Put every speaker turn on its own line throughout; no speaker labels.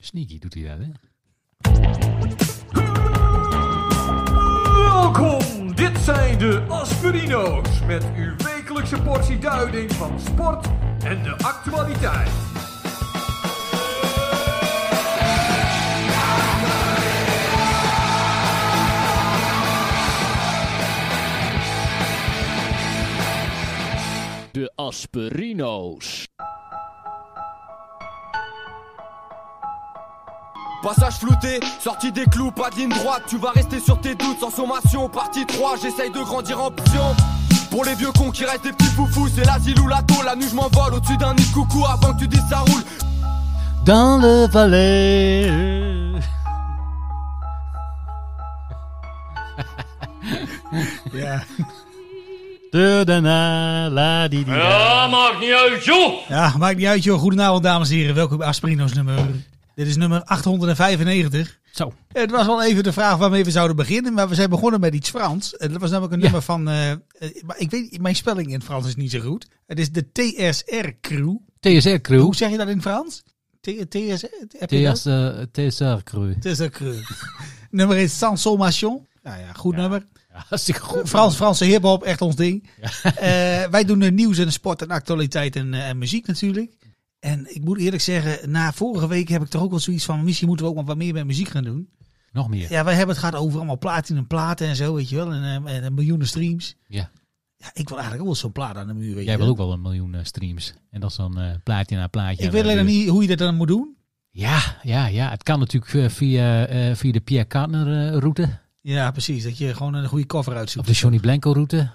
Sneaky doet hij dat, hè?
Welkom, dit zijn de Aspirino's met uw wekelijkse portie duiding van sport en de actualiteit.
De Asperino's.
Passage flouté, sortie des clous, pas de ligne droite, tu vas rester sur tes doutes, sans sommation, partie 3, j'essaye de grandir en pion. Pour les vieux cons qui restent des petits foufous, c'est l'asile ou la tôle, la nuit je m'envole au-dessus d'un nid de coucou avant que tu dises ça roule.
Dans de vallée.
Ja,
De daarna, la die die.
Ja, maakt niet uit, joh!
ja maakt niet uit joh. Goedenavond dames en heren, welkom bij Asperino's nummer. Dit is nummer 895.
Zo.
Het was wel even de vraag waarmee we zouden beginnen, maar we zijn begonnen met iets Frans. Eh, Dat was namelijk een nummer van, eh, eh, maar ik weet, mijn spelling in het Frans is niet zo goed. Het is de TSR Crew.
TSR crew.
Hoe zeg je dat in het Frans? T- TSR? heb je dat?
TSR, TSR crew.
TSR Crew. nummer is Sans Sommation. Nou ja, goed nummer.
Ja, hartstikke goed.
Frans, Franse hiphop, echt ons ding. Eh, wij doen eh, nieuws en sport en actualiteit en, eh, en muziek natuurlijk. En ik moet eerlijk zeggen, na vorige week heb ik toch ook wel zoiets van... misschien moeten we ook wel wat meer met muziek gaan doen.
Nog meer.
Ja, wij hebben het gehad over allemaal platinum platen en zo, weet je wel. En, eh, en, en miljoenen streams.
Ja.
Ja, ik wil eigenlijk ook wel zo'n plaat aan de muur, weet
Jij wil
je wel.
ook wel een miljoen eh, streams. En dat is dan eh, plaatje na plaatje.
ik weet alleen nog niet hoe je dat dan moet doen.
Ja, ja, ja. Het kan natuurlijk eh, via, eh, via de Pierre Kartner eh, route.
Ja, precies. Dat je gewoon een goede cover
Of
uitzoekt.
de Johnny Blanco route.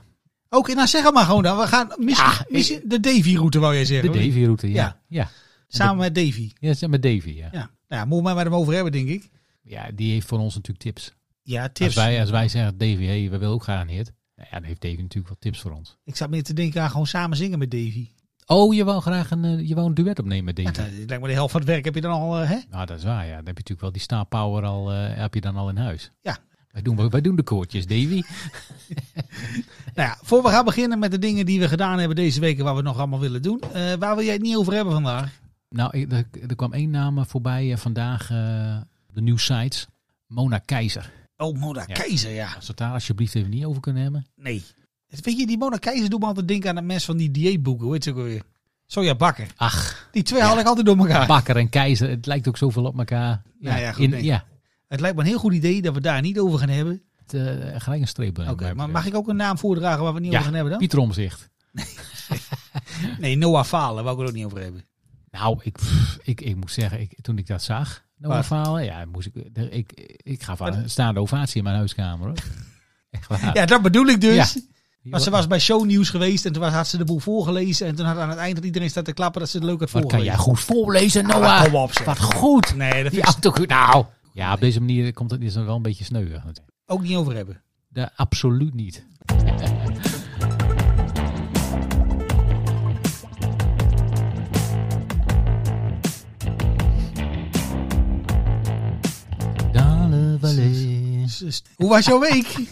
Oké, nou zeg het maar gewoon dan. We gaan misschien, misschien de Davy-route, wou jij
De
zeggen. hoor.
Davy route, ja.
Ja.
Ja,
Samen met Davy.
ja. ja met Davy, ja.
Ja. Nou ja, moet maar maar hem over hebben, denk ik.
Ja, die heeft voor ons natuurlijk tips.
Ja,
Als
tips.
wij, als wij zeggen, Davy, hey, we willen ook gaan hit. Nou ja, dan heeft Davy natuurlijk wat tips voor ons.
Ik zat meer te denken aan gewoon samen zingen met Davy.
Oh, je wou graag een, eh, je wou een duet opnemen met
Ja,
Davy.
dat eh, lijkt me de helft van het werk heb je dan al, eh, hè?
Nou, dat is waar, ja. Dan heb je natuurlijk wel die star power al, eh, heb je dan al in huis.
Ja.
Wij doen, wij doen de koortjes, Davy.
Nou ja, voor we gaan beginnen met de dingen die we gedaan hebben deze week en waar we nog allemaal willen doen. eh, waar wil jij het niet over hebben vandaag?
Nou, ik- er, er kwam één naam eh, voorbij eh, vandaag eh, op de nieuwsites. Mona Keizer.
Oh, Mona
Ja.
Keizer, ja.
Als we het daar alsjeblieft even niet over kunnen hebben.
Nee. Weet je, die Mona Keizer doet me altijd denken aan dat mes van die dieetboeken. Hoe heet ze ook alweer? Soja Bakker.
Ach,
Die twee haal ik altijd door elkaar.
Bakker en Keizer, het lijkt ook zoveel op elkaar.
Nou ja, goed, nee.
ja
het lijkt me een heel goed idee dat we daar niet over gaan hebben. Oké,
het, eh, gelijk een streep Oké,
maar mag ik ook een naam voordragen waar we het niet
Ja,
over gaan hebben dan?
Pieter Omzicht.
Nee, Noah Falen, wou ik het ook niet over hebben.
Nou, ik, pff, ik, ik moet zeggen, ik, toen ik dat zag, nou
Waar?
verhalen, ja, moest ik, er- ik, ik gaf aan
Wat?
een staande ovatie in mijn huiskamer. Hoor. Echt waar.
Ja, dat bedoel ik dus.
Ja.
Maar ze was bij shownieuws geweest en toen was- had ze de boel voorgelezen. En toen had aan het eind dat iedereen staat te klappen dat ze het leuk had
Wat kan
voorgelezen.
jij goed voorlezen,
Ah,
Noah?
kom op, zeg.
Wat goed.
Nee, daar
Die
vind ik
auto, nou. Ja, op deze manier komt het is het wel een beetje sneuig. natuurlijk.
het ook niet over hebben.
Da- absoluut niet. Dale Valley.
Dus, hoe was jouw week?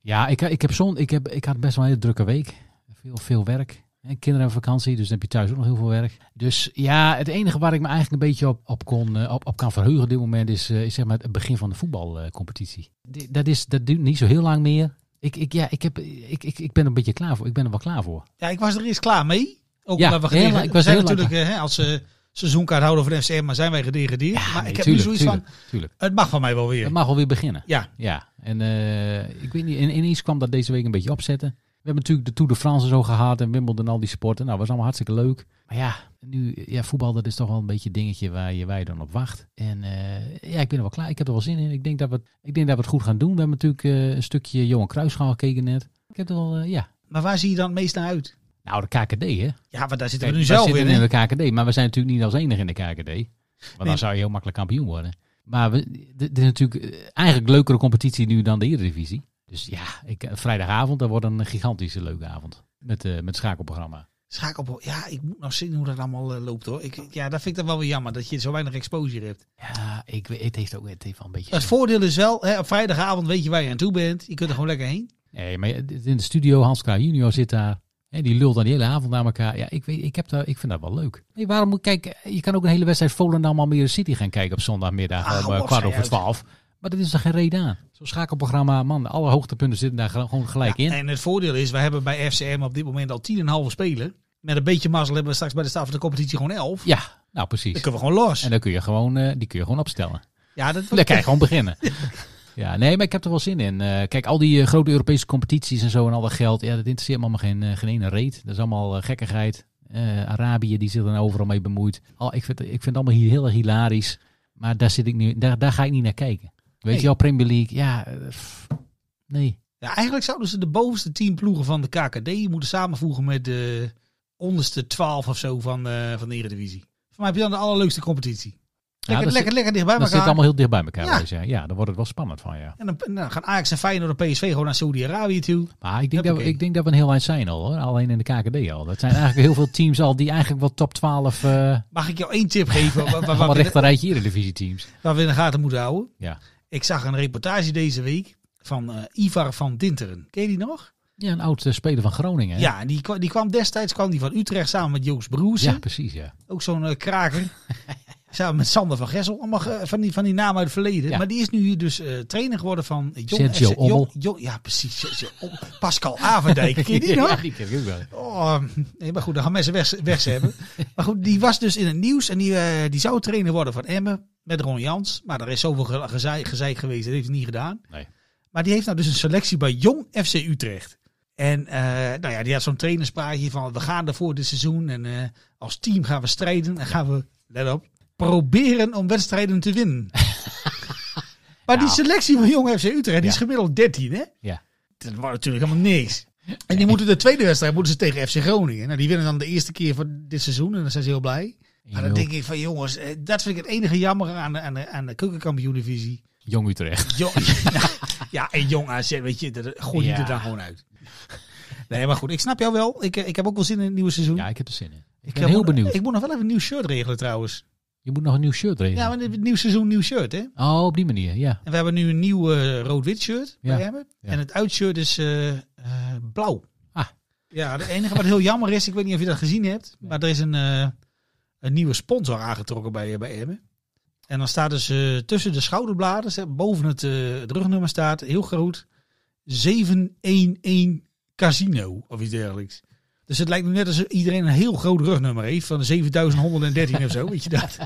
Ja, ik, ik, heb zo'n ik, heb, ik had best wel een hele drukke week. Veel, veel werk. En kinderen hebben vakantie, dus dan heb je thuis ook nog heel veel werk. Dus ja, het enige waar ik me eigenlijk een beetje op, op, kon, eh, op, op kan verheugen op dit moment is, eh, is zeg maar het begin van de voetbalcompetitie. Di- dat, is, dat duurt niet zo heel lang meer. Ik, ik, ja, ik, heb, ik, ik, ik ben er een beetje klaar voor. Ik ben er wel klaar voor.
Ja, ik was er eerst klaar mee. Ook
Ja,
omdat we
heel
gedegradeerd-
lang- ik was
we zijn
heel lang
natuurlijk eh, hè, als eh, seizoenkaarthouder van FCM, maar zijn wij gedegradeerd. maar
nee,
ik heb nu
tuurlijk,
zoiets
tuurlijk,
van,
Tuurlijk.
het mag van mij wel weer.
Het mag alweer beginnen.
Ja,
Ja, en eh, ik weet niet, in- ineens kwam dat deze week een beetje opzetten. We hebben natuurlijk de Tour de France zo gehad en Wimbledon en al die sporten. Nou, was allemaal hartstikke leuk. Maar ja, nu, ja, voetbal dat is toch wel een beetje een dingetje waar je, waar je dan op wacht. En eh, ja, ik ben er wel klaar. Ik heb er wel zin in. Ik denk dat we, het- ik denk dat we het goed gaan doen. We hebben natuurlijk eh, een stukje Johan Cruijffschaal gekeken net. Ik heb er wel, eh, ja.
maar waar zie je dan het meest naar uit?
Nou, de KKD hè.
Ja, want daar zitten
Kijk,
we
wij
nu zelf
zitten
in.
in
hè?
de KKD, maar we zijn natuurlijk niet als enige in de KKD. Want
Nee.
dan zou je heel makkelijk kampioen worden. Maar we, dit is natuurlijk eh, eigenlijk een leukere competitie nu dan de Eredivisie. Dus ja, ik, eh, vrijdagavond, dat wordt een gigantische leuke avond. Met, eh met schakelprogramma.
Schakel, ja, ik moet nog zien hoe dat allemaal eh, loopt hoor. Ik, ja, dat vind ik dan wel weer jammer, dat je zo weinig exposure hebt.
Ja, ik, weet- het heeft ook het heeft wel een beetje...
Het voordeel is wel, hè, op vrijdagavond weet je waar je aan toe bent. Je kunt er gewoon lekker heen.
Nee, maar je- dit- in de studio, Hans Kraaij junior zit daar. Hè, die lult dan die hele avond naar elkaar. Ja, ik, weet, ik, heb daar, ik vind dat wel leuk. Nee, waarom moet kijk, eh, je kan ook een hele wedstrijd Volendam Almere City gaan kijken op zondagmiddag
Ah,
om eh,
wat
kwart
zei
over
uit.
twaalf. Maar dat is er geen reden aan. Zo'n schakelprogramma, man, alle hoogtepunten zitten daar gra- gewoon gelijk in.
En het voordeel is, we hebben bij FCM op dit moment al 10,5 speler. Met een beetje mazzel hebben we straks bij de start van de competitie gewoon 11.
Ja, nou
Dan
precies.
kunnen we gewoon los.
En dan kun je gewoon, eh, die kun je gewoon opstellen.
ja, dat
Dan kan je gewoon beginnen. Ja, nee, maar ik heb er wel zin in. Eh, kijk, al die eh, grote Europese competities en zo en al dat geld, ja, dat interesseert me allemaal geen, eh, geen ene reet. Dat is allemaal eh, gekkigheid. Eh, Arabië, die zich dan overal mee bemoeit. Al, ik, vind, ik vind het allemaal hier heel erg hilarisch. Maar daar, zit ik nu, daar, daar ga ik niet naar kijken. Weet
Nee.
je wel, Premier League, ja, eh, pff, nee.
Ja, eigenlijk zouden ze de bovenste 10 ploegen van de KKD moeten samenvoegen met de onderste 12 of zo van, eh, van de Eredivisie. Voor mij heb je dan de allerleukste competitie. Lekker,
dat
lekker, lekker dicht bij
Dat zit
elkaar.
allemaal heel dicht bij elkaar.
Ja.
Ja. ja, daar wordt het wel spannend van, ja.
En dan, en dan gaan Ajax en Feyenoord en PSV gewoon naar Saudi-Arabië toe.
Maar ik denk, dat we,
Hoppakee.
ik denk dat we een heel eind zijn al, hoor. alleen in de KKD al. Dat zijn eigenlijk heel veel teams al die eigenlijk wel top 12, eh
Mag ik jou één tip geven waar, waar,
allemaal
waar, we, in-
rechterrijtje Eredivisie teams.
waar we in de gaten moeten houden?
Ja.
Ik zag een reportage deze week van eh, Ivar van Dinteren. Ken je die nog?
Ja, een oud eh, speler van Groningen. hè?
Ja, en die, kwa- die kwam destijds kwam die van Utrecht samen met Joost Broersen.
Ja, precies, ja.
Ook zo'n eh, kraker. Samen met Sander van Gessel. Allemaal ge- van, die, van die naam uit het verleden.
Ja.
Maar die is nu dus eh, trainer geworden van... Jong
Sergio
Jong-
Ommel.
Jong- ja, precies. Sergio Ommel. Pascal Avendijk. Ken je die nog?
Ja, die ken ik ook wel.
Oh, nee, maar goed, dan gaan mensen weg, weg hebben. maar goed, die was dus in het nieuws. En die, eh, die zou trainer worden van Emmen. Met Ron Jans. Maar er is zoveel ge- gezeik, gezeik geweest. Dat heeft hij niet gedaan.
Nee.
Maar die heeft nou dus een selectie bij Jong FC Utrecht. En eh, nou ja, die had zo'n trainerspraatje van we gaan ervoor dit seizoen. En eh, als team gaan we strijden en gaan we, let op, proberen om wedstrijden te winnen. maar die
Ja.
selectie van Jong FC Utrecht, die is
Nou. Ja.
gemiddeld 13 hè?
Ja.
Dat was natuurlijk helemaal niks. En die moeten de tweede wedstrijd moeten ze tegen FC Groningen. Nou, die winnen dan de eerste keer van dit seizoen en dan zijn ze heel blij. Maar dan
1-0.
denk ik van jongens, eh, dat vind ik het enige jammer aan de, aan de, aan de keukenkampioen-divisie.
Jong Utrecht.
Jong, ja, en jong AZ, weet je, dat gooi je
Ja.
er dan gewoon uit. Nee, maar goed, ik snap jou wel. Ik, eh, ik heb ook wel zin in het nieuwe seizoen.
Ja, ik heb er zin in. Ik ben
heb
heel
nog-
benieuwd.
Ik moet nog wel even een nieuw shirt regelen trouwens.
Je moet nog een nieuw shirt regelen.
Ja, want het nieuw seizoen, nieuw shirt, hè?
Oh, op die manier, ja.
En we hebben nu een nieuw eh, rood-wit shirt
Ja.
bij Emmen.
Ja.
En het uitshirt is eh, eh, blauw.
Ah.
Ja, het enige wat heel jammer is, ik weet niet of je dat gezien hebt, maar er is een, eh, een nieuwe sponsor aangetrokken bij, eh, bij Emmen. En dan staat dus eh, tussen de schouderbladen, zeg, boven het, eh, het rugnummer staat, heel groot, 711 Casino of iets dergelijks. Dus het lijkt nu net alsof iedereen een heel groot rugnummer heeft van 7113 of zo, weet je dat?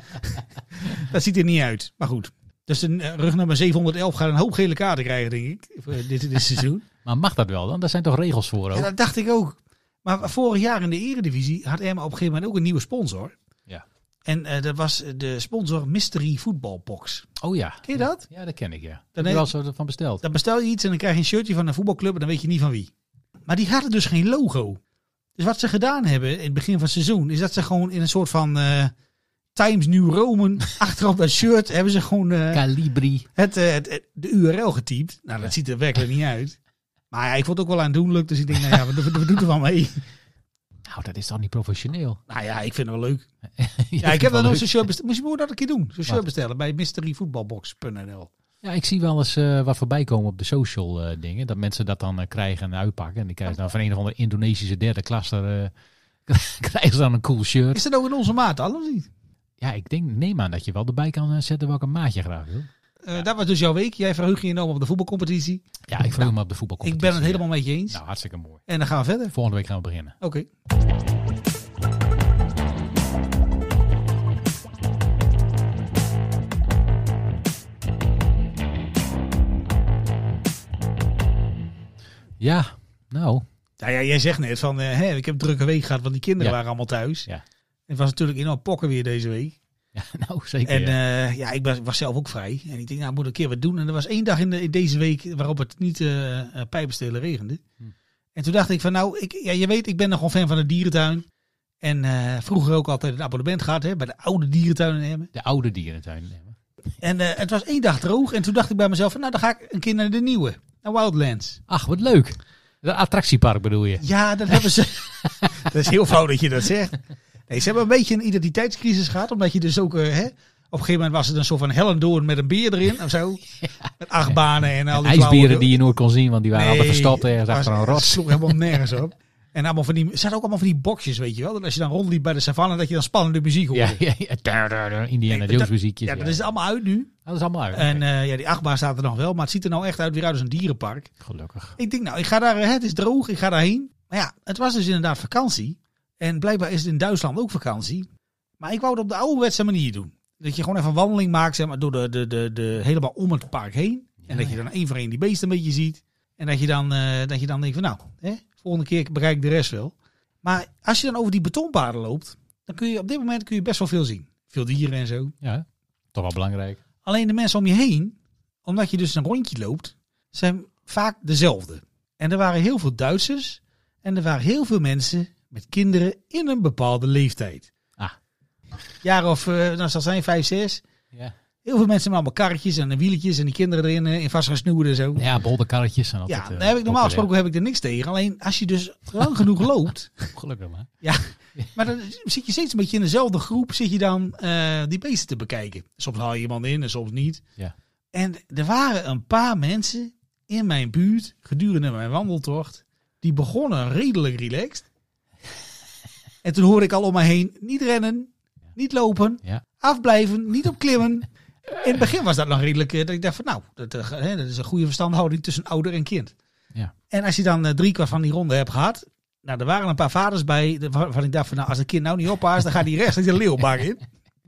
dat ziet er niet uit, maar goed. Dus een eh, rugnummer 711 gaat een hoop gele kaarten krijgen, denk ik, voor eh, dit, dit seizoen.
Maar mag dat wel dan? Daar zijn toch regels voor ook?
Ja, dat dacht ik ook. Maar vorig jaar in de eredivisie had Emma op een gegeven moment ook een nieuwe sponsor.
Ja.
En eh, dat was de sponsor Mystery Football Box.
Oh ja.
Ken je dat?
Ja, dat ken ik, ja. Ik heb
Dan heb-
er wel zo van besteld.
Dan bestel je iets en dan krijg je een shirtje van een voetbalclub en dan weet je niet van wie. Maar die hadden dus geen logo. Dus wat ze gedaan hebben in het begin van het seizoen, is dat ze gewoon in een soort van eh, Times New Roman achterop dat shirt hebben ze gewoon eh,
Calibri.
het, eh, het, het- de URL getypt. Nou, dat ziet er werkelijk niet uit. Maar ja, ik vond het ook wel aandoenlijk, dus ik denk, nou ja, we, we, we doen er wel mee.
Nou, dat is toch niet professioneel?
Nou ja, ik vind het wel leuk.
Je
Ja, ik
vindt
heb
wel
dan ook
leuk.
zo'n shirt besteld. Misschien moet je dat een keer doen. Zo'n shirt
Wat?
bestellen bij mysteryvoetbalbox.nl.
Ja, ik zie wel eens eh, wat voorbij komen op de social eh, dingen. Dat mensen dat dan eh, krijgen en uitpakken. En die krijgen dan van een of andere Indonesische derde klas. daar, eh, krijgen ze dan een cool shirt.
Is dat ook in onze maat al of niet?
Ja, ik denk, neem aan dat je wel erbij kan eh, zetten welke maat je graag wil.
Eh, Dat was dus jouw week. Jij verheugt je enorm op de voetbalcompetitie.
Ja, ik vroeg me op de voetbalcompetitie.
Nou, Ik ben het
ja.
helemaal met je eens.
Nou, hartstikke mooi.
En dan gaan we verder.
Volgende week gaan we beginnen.
Oké.
Ja, nou,
Nou ja, jij zegt net van, eh, hè, ik heb een drukke week gehad, want die kinderen
Ja.
waren allemaal thuis.
Ja.
Het was natuurlijk enorm pokken weer deze week.
ja, nou zeker.
En
ja.
eh, ja, ik was, was zelf ook vrij. En ik denk, nou, ik moet een keer wat doen. En er was één dag in, de, in deze week waarop het niet eh eh, pijpenstelen regende. En toen dacht ik van, nou, ik, ja, je weet, ik ben nogal fan van de dierentuin. En eh, vroeger ook altijd een abonnement gehad hè, bij de oude dierentuin in Emmen.
De oude dierentuin. nemen.
En eh, het was één dag droog. En toen dacht ik bij mezelf, van, nou, dan ga ik een keer naar de nieuwe. Naar Wildlands.
Ach, wat leuk. Dat attractiepark bedoel je?
Ja, dat hebben ze. dat is heel fout dat je dat zegt. Nee, ze hebben een beetje een identiteitscrisis gehad. Omdat je dus ook... eh, hè, op een gegeven moment was het een soort van hellendoorn met een beer erin of zo. Met achtbanen en al die flauwe-
IJsbieren die je nooit kon zien, want die waren
Nee,
altijd verstopt ergens
was-
achter een rots.
sloeg helemaal nergens op. En allemaal van die, er zaten ook allemaal van die boxjes, weet je wel. Dat als je dan rondliep bij de savanne, dat je dan spannende muziek hoorde.
Ja,
Ja,
ja, ja. Daar, daar, daar. Indiana
Nee,
Jones
dat-
muziekjes. Ja,
dat is allemaal uit nu.
dat is allemaal uit.
En
Oké,
eh, ja, die achtbaan staat er nog wel. Maar het ziet er nou echt uit weer uit als een dierenpark.
Gelukkig.
Ik denk, nou, ik ga daar, hè, het is droog, ik ga daarheen. Maar ja, het was dus inderdaad vakantie. En blijkbaar is het in Duitsland ook vakantie. Maar ik wou het op de ouderwetse manier doen. Dat je gewoon even een wandeling maakt, zeg maar, door de, de, de, de, helemaal om het park heen. En dat je dan één voor één die beesten een beetje ziet. En dat je dan, eh, dat je dan denkt van, nou, hè, volgende keer bereik ik de rest wel. Maar als je dan over die betonpaden loopt, dan kun je op dit moment kun je best wel veel zien. Veel dieren en zo.
Ja, toch wel belangrijk.
Alleen de mensen om je heen, omdat je dus een rondje loopt, zijn vaak dezelfde. En er waren heel veel Duitsers en er waren heel veel mensen met kinderen in een bepaalde leeftijd.
Ah.
Jaar of, eh, nou zal zijn, vijf, zes.
Ja,
Heel veel mensen met allemaal karretjes en wieletjes en die kinderen erin eh, in vastgesnoerd en zo.
ja bolderkarretjes zijn altijd
Ja,
eh,
daar heb ik normaal
populair.
gesproken heb ik er niks tegen. Alleen als je dus lang genoeg loopt,
Gelukkig maar.
maar dan zit je steeds een beetje in dezelfde groep, zit je dan eh, die beesten te bekijken. Soms haal je iemand in en soms niet.
Ja.
En er waren een paar mensen in mijn buurt, gedurende mijn wandeltocht, die begonnen redelijk relaxed. En toen hoorde ik al om me heen, niet rennen, niet lopen,
Ja.
afblijven, niet opklimmen. In het begin was dat nog redelijk, eh, dat ik dacht van nou, dat, eh, hè, dat is een goede verstandhouding tussen ouder en kind.
Ja.
En als je dan eh, drie kwart van die ronde hebt gehad, nou, er waren een paar vaders bij de- waarvan ik dacht van nou, als het kind nou niet oppaast, dan gaat hij rechts de leeuwbak in.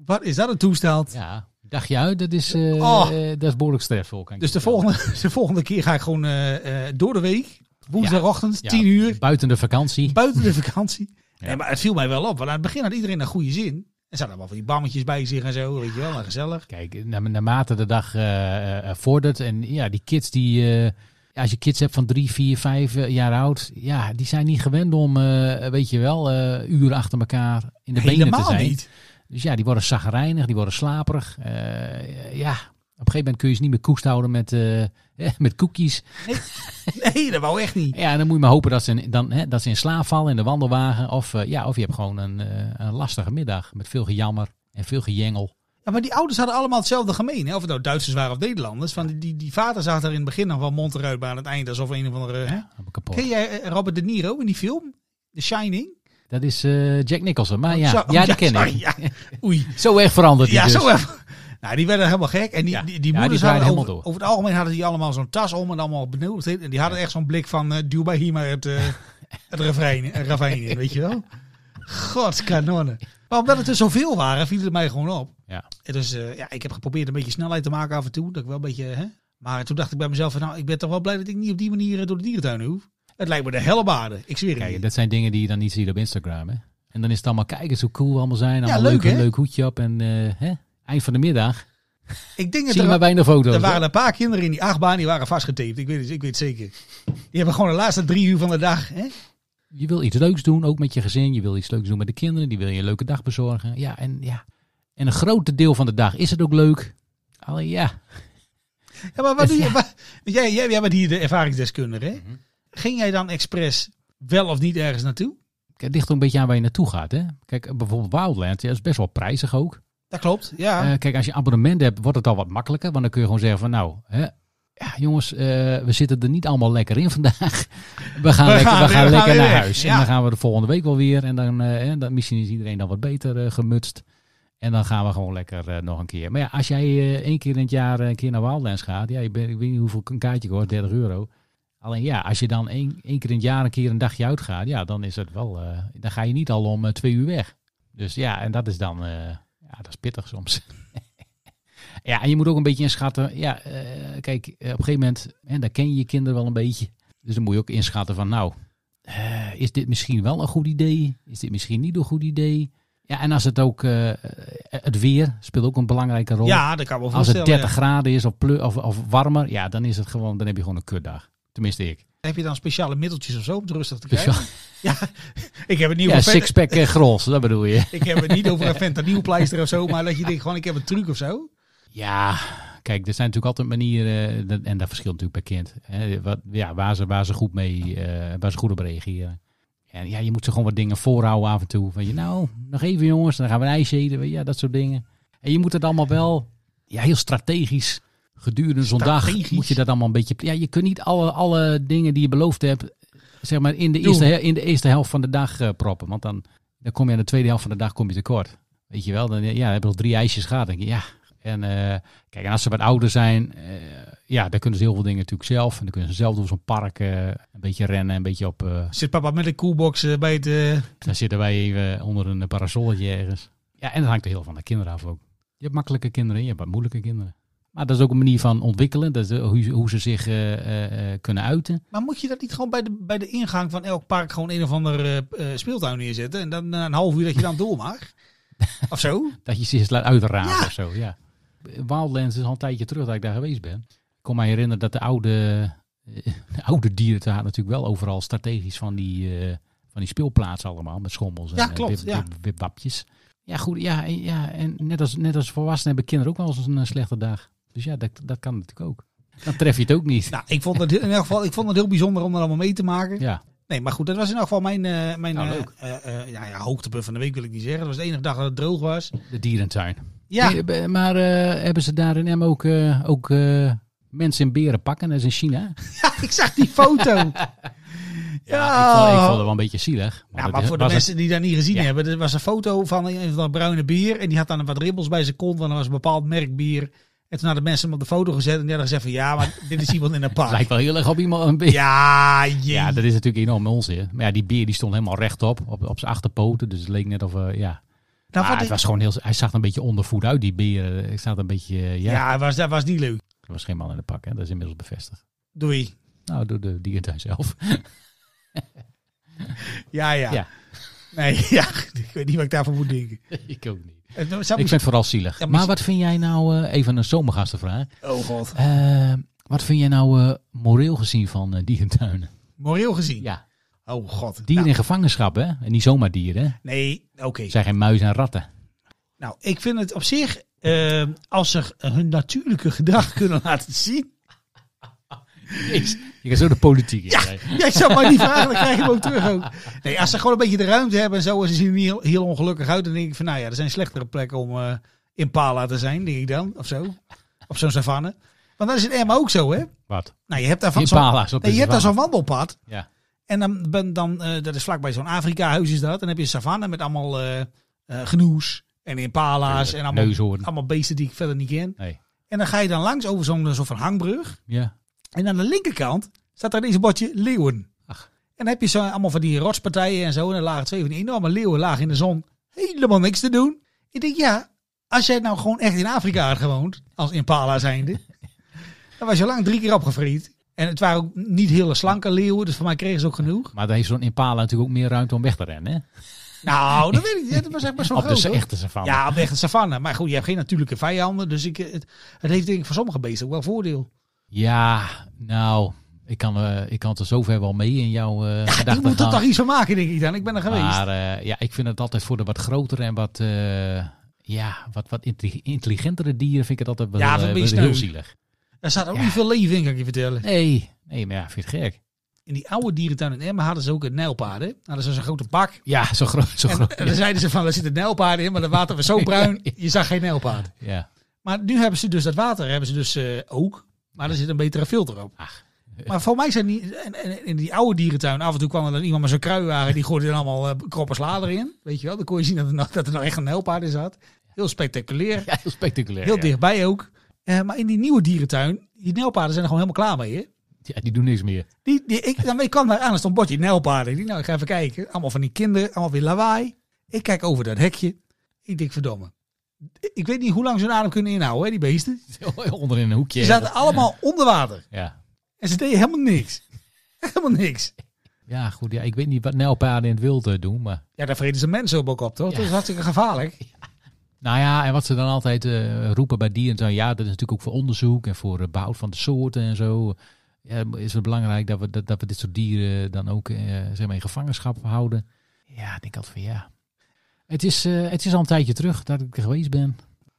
Wat is dat een toestand?
Ja, dagje uit, dat is, eh
Oh.
eh, dat is behoorlijk stressvol. kan ik
Dus
je
de volgende, de volgende keer ga ik gewoon eh, eh, door de week, woensdagochtend,
vertellen.
tien
Ja,
uur,
Buiten de vakantie.
buiten de vakantie.
Ja.
Nee, maar het viel mij wel op, want aan het begin had iedereen een goede zin. Er zaten allemaal van die bammetjes bij zich en zo, weet je wel, en gezellig.
Kijk, na- naarmate de dag eh, eh, vordert en ja, die kids die... eh, ja, als je kids hebt van drie, vier, vijf eh, jaar oud, ja, die zijn niet gewend om, eh, weet je wel, eh, uren achter elkaar in de benen te
Helemaal
zijn.
niet.
Dus ja, die worden zagrijnig, die worden slaperig. Eh, ja, op een gegeven moment kun je ze niet meer koest houden met, eh, eh, met cookies.
Nee, dat wou echt niet.
Ja, en dan moet je maar hopen dat ze in, dan, hè, dat ze in slaap vallen in de wandelwagen. Of, eh, ja, of je hebt gewoon een, eh, een lastige middag met veel gejammer en veel gejengel.
Ja, maar die ouders hadden allemaal hetzelfde gemeen. Hè? Of het nou Duitsers waren of Nederlanders. Van die, die, die vader zag daar in het begin nog wel mond eruit, maar aan het eind alsof een of andere... hè?
Dan ben ik kapot.
Ken jij eh, Robert De Niro in die film? The Shining?
Dat is eh, Jack Nicholson. Maar
Zo-
ja,
oh,
ja, die ken
sorry,
ik.
ja. Oei.
Zo erg veranderd die
Ja,
dus.
zo even. Nou, die werden helemaal gek. En die,
Ja.
die, die
Ja,
moeders
die draaiden
hadden over,
helemaal door.
over het algemeen hadden die allemaal zo'n tas om en allemaal benieuwd. En die hadden echt zo'n blik van, eh, duw bij hier maar het, eh het ravijn, eh, ravijn in, weet je wel? God, kanonnen. Maar omdat het er zoveel waren, viel het mij gewoon op.
Ja.
En dus eh, ja, ik heb geprobeerd een beetje snelheid te maken af en toe. Dat ik wel een beetje, hè? Maar toen dacht ik bij mezelf, van, nou, ik ben toch wel blij dat ik niet op die manier eh, door de dierentuin hoef. Het lijkt me de hellebaarde. Ik zweer het.
Kijk,
je.
dat zijn dingen die je dan niet ziet op Instagram. Hè? En dan is het allemaal, kijk eens hoe cool we allemaal zijn. Allemaal
leuk,
leuk, een
hè?
leuk hoedje op. En eh, hè? eind van de middag
Ik denk dat
zie
er
je maar weinig foto's.
Er waren
hoor.
een paar kinderen in die achtbaan, die waren vastgetaped. Ik weet het, ik weet het zeker. Die hebben gewoon de laatste drie uur van de dag. Hè?
Je wil iets leuks doen, ook met je gezin. Je wil iets leuks doen met de kinderen. Die wil je een leuke dag bezorgen. Ja, en ja. En een groot deel van de dag is het ook leuk. Alleen ja,
Ja, maar wat doe je? wat- jij, jij, jij bent hier de ervaringsdeskundige. Hè?
Mhm.
Ging jij dan expres wel of niet ergens naartoe?
kijk, het ligt er een beetje aan waar je naartoe gaat. Hè? Kijk, bijvoorbeeld Wildlands, ja, dat is best wel prijzig ook.
Dat klopt, ja.
Eh, kijk, als je abonnement hebt, wordt het al wat makkelijker. Want dan kun je gewoon zeggen van nou, hè, ja, jongens, eh, we zitten er niet allemaal lekker in vandaag. We gaan
We
lekker,
gaan
we
weer-
gaan
we
lekker
gaan
naar
weer weg,
huis.
ja.
En dan gaan we de volgende week wel weer. En dan, eh, hè, dan misschien is iedereen dan wat beter eh, gemutst. En dan gaan we gewoon lekker eh, nog een keer. Maar ja, als jij eh, één keer in het jaar eh, een keer naar Wildlands gaat, ja, je bent, ik weet niet hoeveel een kaartje kost, 30 euro. Alleen ja, als je dan één, één keer in het jaar een keer een dagje uitgaat, ja, dan is het wel, eh, dan ga je niet al om eh, twee uur weg. Dus ja, en dat is dan, eh, ja, dat is pittig soms. ja, en je moet ook een beetje inschatten, ja, eh, kijk, eh, op een gegeven moment, en daar ken je je kinderen wel een beetje. Dus dan moet je ook inschatten van, nou, eh, is dit misschien wel een goed idee? Is dit misschien niet een goed idee? Ja, en als het ook, eh, het weer speelt ook een belangrijke rol.
ja, dat kan ik me
Als het
voorstellen.
30 graden is of, pleu- of, of warmer, ja, dan is het gewoon, dan heb je gewoon een kutdag. Tenminste ik.
Heb je dan speciale middeltjes of zo om het rustig te
Dus
krijgen?
ja,
Ik heb het niet
ja,
over, fent-
sixpack en grols, dat bedoel je.
ik heb het niet over een fentanylpleister of zo, maar dat je denkt gewoon ik heb een truc of zo.
Ja, kijk, er zijn natuurlijk altijd manieren, eh, dat- en dat verschilt natuurlijk per kind. Hè, wat, ja, waar, ze, waar ze goed mee, eh, waar ze goed op reageren. En ja, je moet ze gewoon wat dingen voorhouden af en toe. Van je, nou, nog even jongens, dan gaan we een ijsje eten, weet je, ja, dat soort dingen. En je moet het allemaal wel, ja, heel strategisch, gedurende zo'n dag
Strategisch?
moet je dat allemaal een beetje... Ja, je kunt niet alle, alle dingen die je beloofd hebt zeg maar in de,
Doe.
eerste, he- in de eerste helft van de dag eh, proppen. Want dan, dan kom je aan de tweede helft van de dag kom je tekort. Weet je wel, dan, ja, dan hebben we al drie ijsjes gehad. Denk je, ja. En eh, kijk, en als ze wat ouder zijn, eh, ja, dan kunnen ze heel veel dingen natuurlijk zelf. En dan kunnen ze zelf door zo'n park eh, een beetje rennen, een beetje op... eh,
Zit papa met een koelbox eh, bij het... eh,
dan zitten wij even onder een parasolletje ergens. Ja, en dat hangt er heel van de kinderen af ook. Je hebt makkelijke kinderen en je hebt wat moeilijke kinderen. Maar dat is ook een manier van ontwikkelen, dat is eh, hoe, ze- hoe ze zich eh, eh, eh, kunnen uiten.
Maar moet je dat niet gewoon bij de, bij de ingang van elk park gewoon een of ander eh, eh, speeltuin neerzetten? En dan na een half uur dat je dan door mag? of zo?
Dat je ze eens laat uitraden
Ja.
of zo, ja. Wildlands is al een tijdje terug dat ik daar geweest ben. Ik kon mij herinneren dat de oude, eh, de oude dieren daar natuurlijk wel overal strategisch van die, eh, van die speelplaatsen allemaal. Met schommels en
Ja,
eh,
klopt,
wip-
ja.
wip- wipwapjes. Ja, goed. Ja, en- ja, en net als, net als volwassenen hebben kinderen ook wel eens een eh, slechte dag. Dus ja, dat, dat kan natuurlijk ook. Dan tref je het ook niet.
Nou, ik vond het heel- in elk geval ik vond het heel bijzonder om dat allemaal mee te maken.
Ja,
Nee, maar goed, dat was in elk geval mijn, eh, mijn
Nou,
eh,
leuk.
eh, eh, ja, ja, hoogtepunt van de week wil ik niet zeggen. Dat was de enige dag dat het droog was.
de dierentuin.
Ja,
Nee, eh, Maar eh, hebben ze daar in Emmen ook, eh, ook eh, mensen in beren pakken? Dat is in China.
ik zag die foto. Nou, ja,
Ja, ik, vond, ik vond het wel een beetje zielig.
Ja,
dat
maar
is-
voor de
was het-
mensen die dat niet gezien
Ja.
hebben, er was een foto van een van dat bruine bier. En die had dan wat ribbels bij zijn kont, want dat was een bepaald merk bier. En toen hadden mensen hem op de foto gezet en die hadden gezegd van ja, maar dit is iemand in een
Het
park.
lijkt wel heel erg op iemand. Een beer. Ja.
Ja, jee.
dat is natuurlijk enorm onzin. Maar ja, die beer die stond helemaal rechtop, op, op zijn achterpoten. Dus het leek net of, eh, ja.
Nou,
maar
wat
het
ik-
was gewoon heel, hij zag er een beetje ondervoed uit, die beer. Ik zat een beetje, eh, ja.
ja, het was, dat was niet leuk.
Er was geen man in de pak, hè. Dat is inmiddels bevestigd.
Doei.
Nou, door de dierentuin zelf.
Ja, ja.
Ja.
Nee, ja, ik weet niet wat ik daarvoor moet denken.
ik ook niet.
Het zou
Ik vind
misschien-
het vooral zielig.
Ja,
maar
misschien-
wat vind jij nou, eh, even een zomergastenvraag.
Oh god.
Eh, wat vind jij nou eh, moreel gezien van eh, dierentuinen?
Moreel gezien.
Ja,
Oh god.
dieren
Nou,
in gevangenschap, hè? En niet zomaar dieren, hè?
nee, oké.
Het zijn geen muizen en ratten.
Nou, ik vind het op zich, eh, als ze hun natuurlijke gedrag kunnen laten zien,
Jezus, je gaat zo de politiek in. hè.
Ja, ik zou maar niet vragen, dan krijg je hem ook terug. Ook. Nee, als ze gewoon een beetje de ruimte hebben en zo, en ze zien er niet heel, heel ongelukkig uit, dan denk ik van, nou ja, er zijn slechtere plekken om eh impala te zijn, denk ik dan, of zo. Op zo'n savanne. Want dan is het Emma ook zo, hè?
Wat?
Nou, je hebt daar van zo'n...
Impala's op de
Nee, je hebt daar
savanne.
zo'n wandelpad.
Ja.
En dan, ben, dan eh, dat is vlakbij zo'n Afrika-huis is dat. Dan heb je een savanne met allemaal eh eh, genoes en impala's en allemaal,
Neushoorn.
allemaal beesten die ik verder niet ken.
Nee.
En dan ga je dan langs over zo'n soort van hangbrug.
Ja.
En aan de linkerkant staat daar deze bordje leeuwen.
Ach.
En dan heb je zo allemaal van die rotspartijen en zo. En er lagen twee van die enorme leeuwen lagen in de zon. Helemaal niks te doen. Ik denk, ja, als jij nou gewoon echt in Afrika had gewoond, als impala zijnde, dan was je al lang drie keer opgevriet. En het waren ook niet hele slanke leeuwen, dus voor mij kregen ze ook genoeg.
Maar daar heeft zo'n impala natuurlijk ook meer ruimte om weg te rennen. Hè?
Nou, dat weet ik niet. Dat was echt best wel
Op de
groot.
s-
hoor.
echte savanne.
Ja, op de echte savanne. Maar goed, je hebt geen natuurlijke vijanden. Dus ik, het, het heeft denk ik voor sommige beesten ook wel voordeel.
Ja, nou, ik kan, eh, ik kan het er zover wel mee in jouw eh
Ik
gedachten
moet er
gaan.
toch iets van maken, denk ik dan. Ik ben er geweest.
Maar eh, ja, ik vind het altijd voor de wat grotere en wat, eh, ja, wat, wat intelli- intelligentere dieren vind ik het altijd wel,
Ja,
eh,
dat
wel
is
heel
leuk.
zielig.
Er staat ook
Ja.
niet veel leven in, kan ik je vertellen.
Nee, nee, maar ja, vind je het gek?
In die oude dierentuin in Emmen hadden ze ook een nijlpaard. hè? Hadden ze zo'n grote bak.
Ja, zo groot, zo
En,
groot.
en dan zeiden ze van, er zitten nijlpaarden in, maar dat water was zo bruin, je zag geen nijlpaard.
Ja,
Maar nu hebben ze dus dat water, hebben ze dus eh, ook, maar er zit een betere filter op.
Ach.
Maar voor mij zijn die, en, en- in die oude dierentuin, af en toe kwam er dan iemand met zo'n kruiwagen, die gooide dan allemaal eh, kroppen sla erin. Weet je wel, dan kon je zien dat er nog, dat er nog echt een nijlpaard in zat. Heel spectaculair,
ja heel spectaculair.
heel
ja.
dichtbij ook. Eh, maar in die nieuwe dierentuin, die nijlpaarden zijn er gewoon helemaal klaar mee, hè?
Ja, die doen niks meer.
Die, die, ik, dan kwam daar aan, er stond een bordje nijlpaarden. Ik dacht, nou, ik ga even kijken. Allemaal van die kinderen, allemaal weer lawaai. Ik kijk over dat hekje. Ik denk, verdomme. Ik weet niet hoe lang ze hun adem kunnen inhouden, hè, die beesten.
Onder in een hoekje.
Ze zaten allemaal onder water.
Ja.
En ze deden helemaal niks. Helemaal niks.
ja, goed. Ja, ik weet niet wat nijlpaarden in het wild eh, doen, maar...
Ja, daar vreden ze mensen op ook op, toch?
Ja.
Dat is hartstikke gevaarlijk.
Nou ja, en wat ze dan altijd eh, roepen bij dierentuin, ja, dat is natuurlijk ook voor onderzoek en voor eh, behoud van de soorten en zo. Ja, is het belangrijk dat we, dat, dat we dit soort dieren dan ook eh, zeg maar in gevangenschap houden? Ja, ik denk altijd van ja. Het is, eh, het is al een tijdje terug dat ik er geweest ben.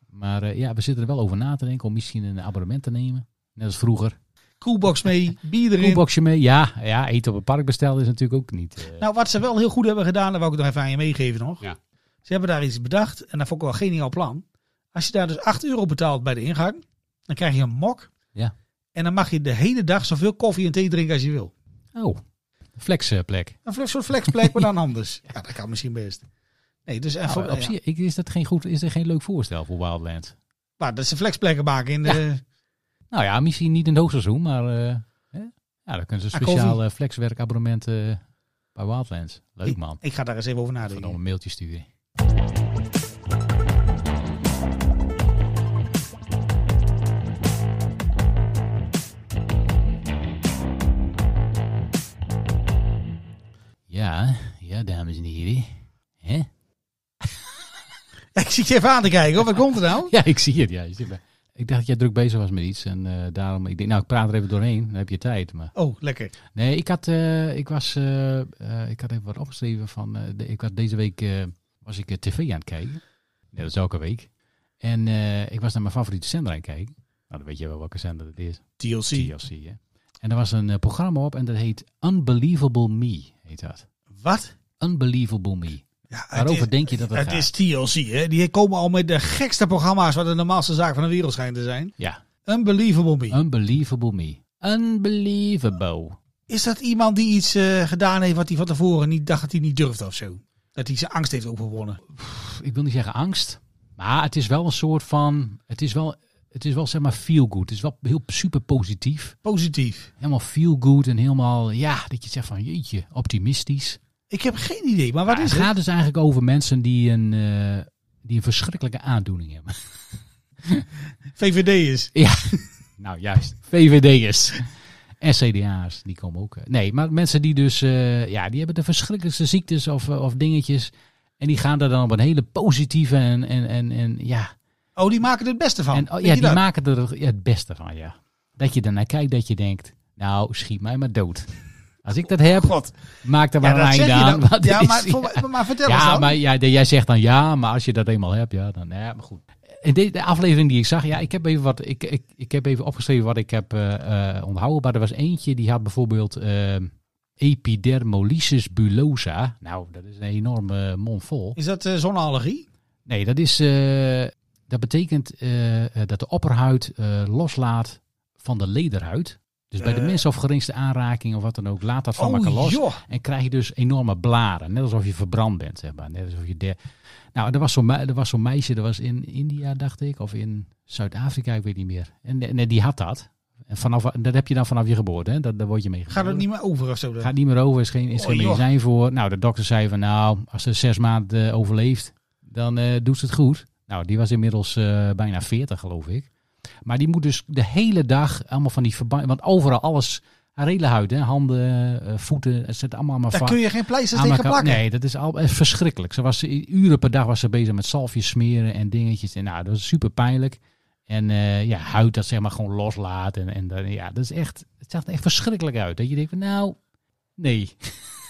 Maar eh, ja, we zitten er wel over na te denken om misschien een abonnement te nemen. Net als vroeger.
Koelbox mee, bier erin.
Koelboxje mee. Ja, ja, eten op het park bestellen is natuurlijk ook niet. eh,
Nou, wat ze wel heel goed hebben gedaan, dat wou ik nog even aan je meegeven nog.
Ja.
Ze hebben daar iets bedacht en dat vond ik wel een geniaal plan. Als je daar dus 8 euro betaalt bij de ingang, dan krijg je een mok.
Ja.
En dan mag je de hele dag zoveel koffie en thee drinken als je wil.
Oh, Flexplek.
Een flex, soort flexplek, maar dan anders. Ja, dat kan misschien best. Nee, dus en voor-
Nou, op
ja.
zich, ik- is dat geen goed, is dat geen leuk voorstel voor Wildland?
Maar dat ze flexplekken maken in de...
Nou ja, misschien niet in het hoogseizoen, maar eh, hè? ja, dan kunnen ze
Ah, koffie.
speciaal eh, flexwerkabonnement eh, bij Wildlands. Leuk man.
Ik, ik ga daar eens even over
Even nog
nadenken.
een mailtje sturen. Ja, ja, dames en heren. Hè?
Ik zie je even aan te kijken, hoor. wat komt er nou?
Ja, ik zie het. Ja. Je zit bij- Ik dacht dat jij druk bezig was met iets. En eh, daarom, ik denk, nou, ik praat er even doorheen. Dan heb je tijd. Maar...
Oh, lekker.
Nee, ik had, eh, ik, was, eh, eh, ik had even wat opgeschreven van. eh, de- ik was deze week eh, was ik eh, tv aan het kijken. Nee, dat is elke week. En eh, ik was naar mijn favoriete zender aan het kijken. Nou, dan weet je wel welke zender het is.
TLC.
TLC, hè. En er was een eh, programma op en dat heet Unbelievable Me, heet dat.
Wat?
Unbelievable Me.
Ja, het
Waarover
is-
denk je dat het,
Het
gaat?
is TLC, hè. Die komen al met de gekste programma's wat de normaalste zaak van de wereld schijnt te zijn.
Ja,
Unbelievable me.
Unbelievable Me. Unbelievable.
Is dat iemand die iets eh, gedaan heeft wat hij van tevoren niet dacht dat hij niet durfde of zo? Dat hij zijn angst heeft overwonnen.
ik wil niet zeggen angst, maar het is wel een soort van, het is wel, het is wel zeg maar feel good. Het is wel heel super positief.
Positief.
Helemaal feel good en helemaal, ja, dat je zegt van jeetje, optimistisch.
Ik heb geen idee, maar wat
Maar
is
het
het?
gaat dus eigenlijk over mensen die een, eh, die een verschrikkelijke aandoening hebben.
VVD is.
ja, nou juist, VVD'ers. En CDA's, die komen ook. eh, Nee, maar mensen die dus, eh, ja, die hebben de verschrikkelijkste ziektes of, eh, of dingetjes. En die gaan daar dan op een hele positieve en, en, en, en ja,
Oh, die maken er het beste van.
En, oh,
Weet
ja,
je
die
dat?
maken er ja, het beste van, ja. Dat je ernaar kijkt, dat je denkt, nou, schiet mij maar dood. Als ik dat heb,
God.
maak er
Ja,
maar
dat
een
zeg
einde
je
aan.
dan.
want
Ja,
het
maar,
is-
voor- maar- maar vertel eens
ja,
dan.
maar ja, de- jij zegt dan ja, maar als je dat eenmaal hebt, ja, dan ja, maar goed. In de, de aflevering die ik zag, ja, ik heb even wat, ik, ik, ik heb even opgeschreven wat ik heb eh, eh, onthouden. Maar er was eentje die had bijvoorbeeld eh, epidermolysis bullosa. Nou, dat is een enorme mond vol.
Is dat eh zonneallergie?
Nee, dat is. eh, dat betekent eh, eh, dat de opperhuid eh, loslaat van de lederhuid. Dus bij de
Eh.
minste of geringste aanraking of wat dan ook, laat dat van elkaar
oh,
los.
joh.
En krijg je dus enorme blaren. Net alsof je verbrand bent, zeg maar. Net alsof je der... Nou, er was zo'n mei- er was zo'n meisje, dat was in India, dacht ik, of in Zuid-Afrika, ik weet niet meer. En nee, die had dat. En vanaf, dat heb je dan vanaf je geboorte, hè? Dat, daar word je mee
Gaat
geboren.
het niet meer over of zo? Dan?
Gaat niet meer over, is geen, is
Oh,
geen
joh.
medicijn voor. Nou, de dokter zei van nou, als ze zes maanden eh, overleeft, dan eh, doet ze het goed. Nou, die was inmiddels eh, bijna 40 geloof ik. Maar die moet dus de hele dag allemaal van die verbanden, want overal alles, haar hele huid, hè, handen, eh, voeten, het zit allemaal maar
Daar
va-
kun je geen pleisters
aan
tegen
elkaar-
plakken.
Nee, dat is al eh, verschrikkelijk. Ze was i- uren per dag was ze bezig met zalfjes smeren en dingetjes. En nou, dat was super pijnlijk. En eh, ja, huid dat zeg maar gewoon loslaat. En, en dan, ja, dat is echt, het zag er echt verschrikkelijk uit. Dat je denkt van nou, nee,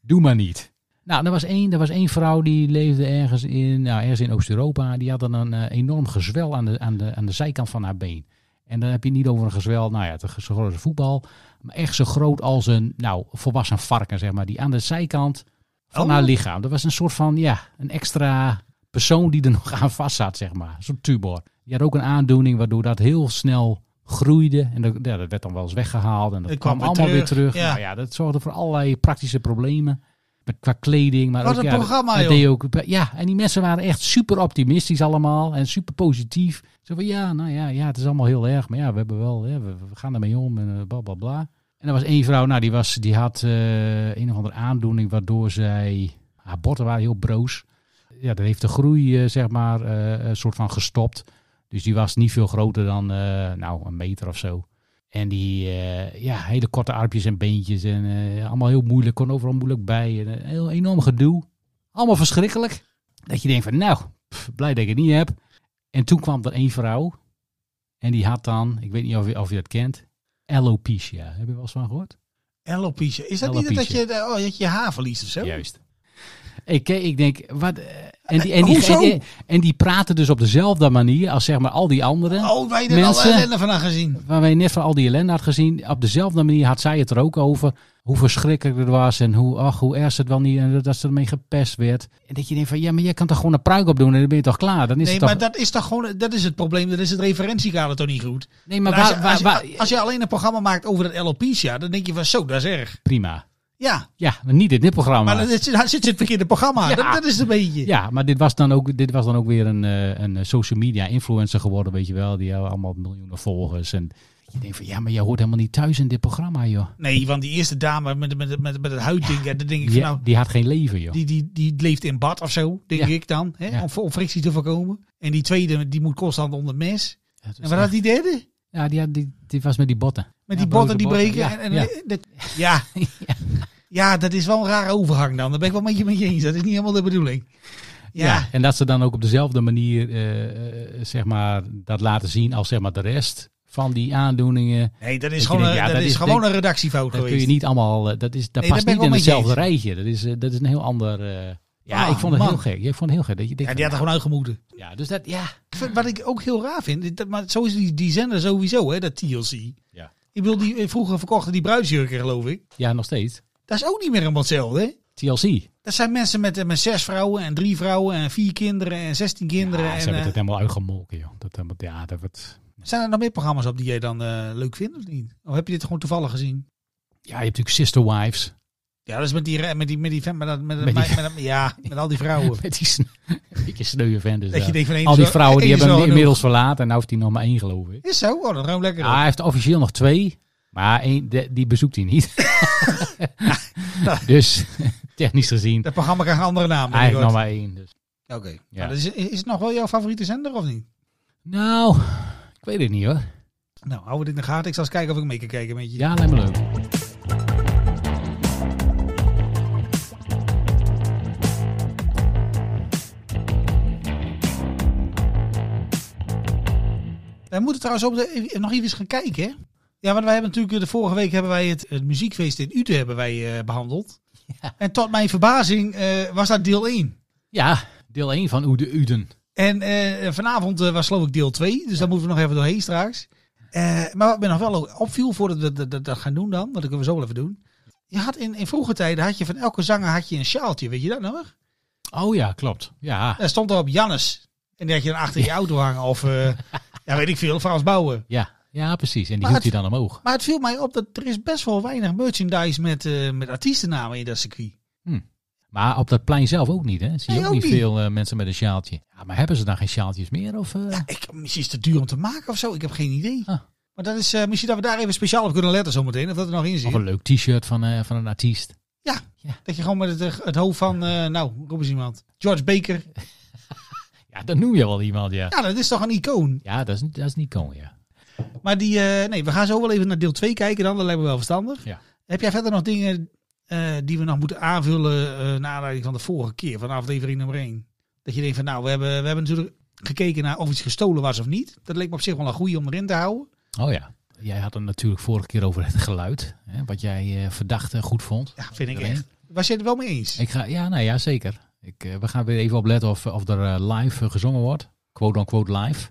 doe maar niet. Nou, er was één, er was één vrouw die leefde ergens in, nou, ergens in Oost-Europa. Die had dan een eh, enorm gezwel aan de, aan, de, aan de zijkant van haar been. En dan heb je niet over een gezwel, nou ja, het is zo groot als een voetbal. Maar echt zo groot als een, nou, volwassen varken, zeg maar. Die aan de zijkant van
Oh.
haar lichaam. Dat was een soort van, ja, een extra persoon die er nog aan vast zat, zeg maar. Zo'n tumor. Die had ook een aandoening waardoor dat heel snel groeide. En dat, ja, dat werd dan wel eens weggehaald. En dat
Het
kwam,
kwam weer
allemaal weer
terug,
terug.
ja.
Nou ja, dat zorgde voor allerlei praktische problemen. Met, qua kleding, maar
Wat
ook
een
ja, dat-
programma,
dat
joh.
deed ook, ja, en die mensen waren echt super optimistisch allemaal en super positief. Zo van ja, nou ja, ja, het is allemaal heel erg, maar ja, we hebben wel, ja, we, we gaan ermee om en eh, bla bla bla. En er was één vrouw, nou die, was, die had eh, een of andere aandoening waardoor zij, haar botten waren heel broos. Ja, dat heeft de groei eh, zeg maar eh, een soort van gestopt. Dus die was niet veel groter dan, eh, nou, een meter of zo. En die, eh, ja, hele korte armpjes en beentjes en eh, allemaal heel moeilijk, kon overal moeilijk bij. En een heel enorm gedoe. Allemaal verschrikkelijk. Dat je denkt van, nou, pff, blij dat ik het niet heb. En toen kwam er één vrouw. En die had dan, ik weet niet of je, of je dat kent, alopecia. Heb je wel eens van gehoord?
Alopecia. Is dat niet dat
Alopecia.
je, de- oh, dat je haar verliest of zo?
Juist. Ik, ke- ik denk, wat... eh, En die, en, die,
Hoezo?
en, die, en die praten dus op dezelfde manier als zeg maar al die anderen.
Oh, wij hebben er al
Mensen.
ellende van gezien.
waar wij net van al die ellende had gezien, op dezelfde manier had zij het er ook over. Hoe verschrikkelijk het was en hoe, ach, hoe erg ze het wel niet en dat ze ermee gepest werd. En dat je denkt van, ja, maar jij kan toch gewoon een pruik op doen en dan ben je toch klaar? Dan is
Nee,
het toch...
maar dat is toch gewoon, dat is het probleem. Dat is het referentiekader toch niet goed.
nee, maar
als,
waar,
je,
waar,
als, je,
waar-
als je alleen een programma maakt over dat alopecia, dan denk je van zo, dat is erg.
prima.
Ja,
Ja, maar niet in dit programma.
maar dan zit, daar zit het verkeerde programma.
Ja.
Dat, dat is een beetje.
Ja, maar dit was dan ook, dit was dan ook weer een, eh, een eh, social media influencer geworden, weet je wel. Die hebben allemaal miljoenen volgers. En je denkt van, ja, maar je hoort helemaal niet thuis in dit programma, joh.
Nee, want die eerste dame met, met, met, met het huidding, ja, dat denk ik
Die,
van nou,
die had geen leven, joh.
die, die, die leeft in bad of zo, denk
Ja.
ik dan. Hè,
Ja.
om, om frictie te voorkomen. En die tweede, die moet constant onder mes.
Ja, dus
En wat had
echt-
die derde?
ja, die, had- die, die was met die botten.
Met
Ja,
die botten die
blote
breken.
botten,
Ja. En, en-
ja.
dat, ja. ja. dat is wel een rare overhang dan. Daar ben ik wel met je, met je eens. Dat is niet helemaal de bedoeling.
Ja.
Ja,
en dat ze dan ook op dezelfde manier, eh, eh, zeg maar, dat laten zien als zeg maar de rest van die aandoeningen.
nee, dat
je
is gewoon,
denkt,
een-
ja,
dat
dat
is
is-
gewoon
dat-
een redactiefout
Dat kun
geweest.
je niet allemaal, eh, dat, is, dat
Nee,
past
daar ben ik
niet in
wel met je
hetzelfde
eens.
rijtje. Dat is, eh, dat is een heel ander... eh, ja,
Ah,
ik vond het heel
man.
gek. Ik vond het heel gek. Dat je denkt,
Ja,
van,
die had er gewoon uitgemoeten.
ja, dus dat, ja.
Ik vind- Wat ik ook heel raar vind, dat, maar zo is die, die zender sowieso, hè, dat TLC.
Ja.
Ik bedoel, die, eh, vroeger verkochten die bruidsjurken, geloof ik.
Ja, nog steeds.
Dat is ook niet meer helemaal hetzelfde, hè?
TLC.
Dat zijn mensen met, eh, met zes vrouwen en drie vrouwen en vier kinderen en zestien kinderen.
Ja, Ah, ze
en,
hebben
eh,
het helemaal uitgemolken, joh. Dat, helemaal- ja, dat wordt...
zijn er nog meer programma's op die jij dan eh, leuk vindt of niet? Of heb je dit gewoon toevallig gezien?
Ja, je hebt natuurlijk Sister Wives.
Ja, dat is met die re- met die met die vent met dat- met, dat
Met die-
meid- met, dat- ja, met al die vrouwen.
Met die sne beetje sneuwe vent. Dus
Dat je
daar.
denkt van, één
Al
is
die
wel-
vrouwen die
één is
hebben hem
wel
inmiddels verlaten. En nou heeft hij nog maar één, geloof ik.
Is zo? Oh, dat ruimt lekker.
Ah, hij
op.
heeft officieel nog twee. Maar één, de- die bezoekt hij niet. dus technisch gezien,
Dat programma krijgt een andere naam.
hij heeft nog
binnenkort.
maar één. Dus.
Oké.
Ja.
Maar dat Is, is het nog wel jouw favoriete zender of niet?
Nou, ik weet het niet hoor.
Nou, hou het in de gaten. Ik zal eens kijken of ik mee kan kijken met je.
Ja, lijkt me leuk.
Wij moeten trouwens ook de- even- nog even eens gaan kijken. hè? Ja, want wij hebben natuurlijk eh, de vorige week hebben wij het, het muziekfeest in Ute hebben wij eh, behandeld. En tot mijn verbazing eh, was dat deel 1.
Ja, deel 1 van Oede Uden.
En eh, vanavond eh, was geloof ik deel 2. Dus daar moeten we nog even doorheen straks. Eh, maar wat mij nog wel opviel voordat we dat, dat, dat gaan doen dan. Want dat kunnen we zo wel even doen. Je had in, in vroege tijden had je van elke zanger had je een sjaaltje. Weet je dat nog?
Oh ja, klopt. Ja,
Daar stond erop Jannes. En die had je dan achter je auto hangen. Of eh, ja, weet ik veel, Frans Bouwen.
ja, ja precies. En die
Maar
hield hij
het-
dan omhoog.
Maar het viel mij op dat er is best wel weinig merchandise met, eh, met artiestennamen in dat circuit.
Maar op dat plein zelf ook niet, hè? Zie je
Nee,
ook
ook
niet
niet.
veel eh, mensen met een sjaaltje. Ja, maar hebben ze dan geen sjaaltjes meer? Of, eh?
Ik, misschien is het te duur om te maken of zo. Ik heb geen idee.
Ah.
Maar dat is, eh, misschien dat we daar even speciaal op kunnen letten zometeen. Of dat er nog in zit.
Of een leuk t-shirt van, eh, van een artiest.
Dat je gewoon met het, eh, het hoofd van, eh, nou, roep eens iemand. George Baker.
Ja, dat noem je wel iemand, ja.
Ja, dat is toch een icoon.
Ja, dat is, dat is niet kon, ja.
Maar die, eh, nee, we gaan zo wel even naar deel 2 kijken dan. Dat lijkt me wel verstandig.
Ja.
Heb jij verder nog dingen eh, die we nog moeten aanvullen eh naar aanleiding van de vorige keer, van aflevering nummer 1? Dat je denkt van, nou, we hebben, we hebben natuurlijk gekeken naar of iets gestolen was of niet. Dat leek me op zich wel een goede om erin te houden.
Oh ja. Jij had het natuurlijk vorige keer over het geluid. Hè, wat jij eh, verdacht eh, goed vond.
Ja, vind ik
Erin.
echt. Was je het wel mee eens?
Ik ga, ja, nou ja, zeker. Ik, eh, we gaan weer even opletten of, of er eh, live eh, gezongen wordt. Quote-unquote live.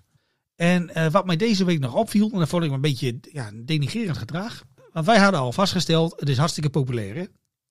En eh, wat mij deze week nog opviel, en dat vond ik een beetje ja, denigerend gedrag. Want wij hadden al vastgesteld, het is hartstikke populair. Hè?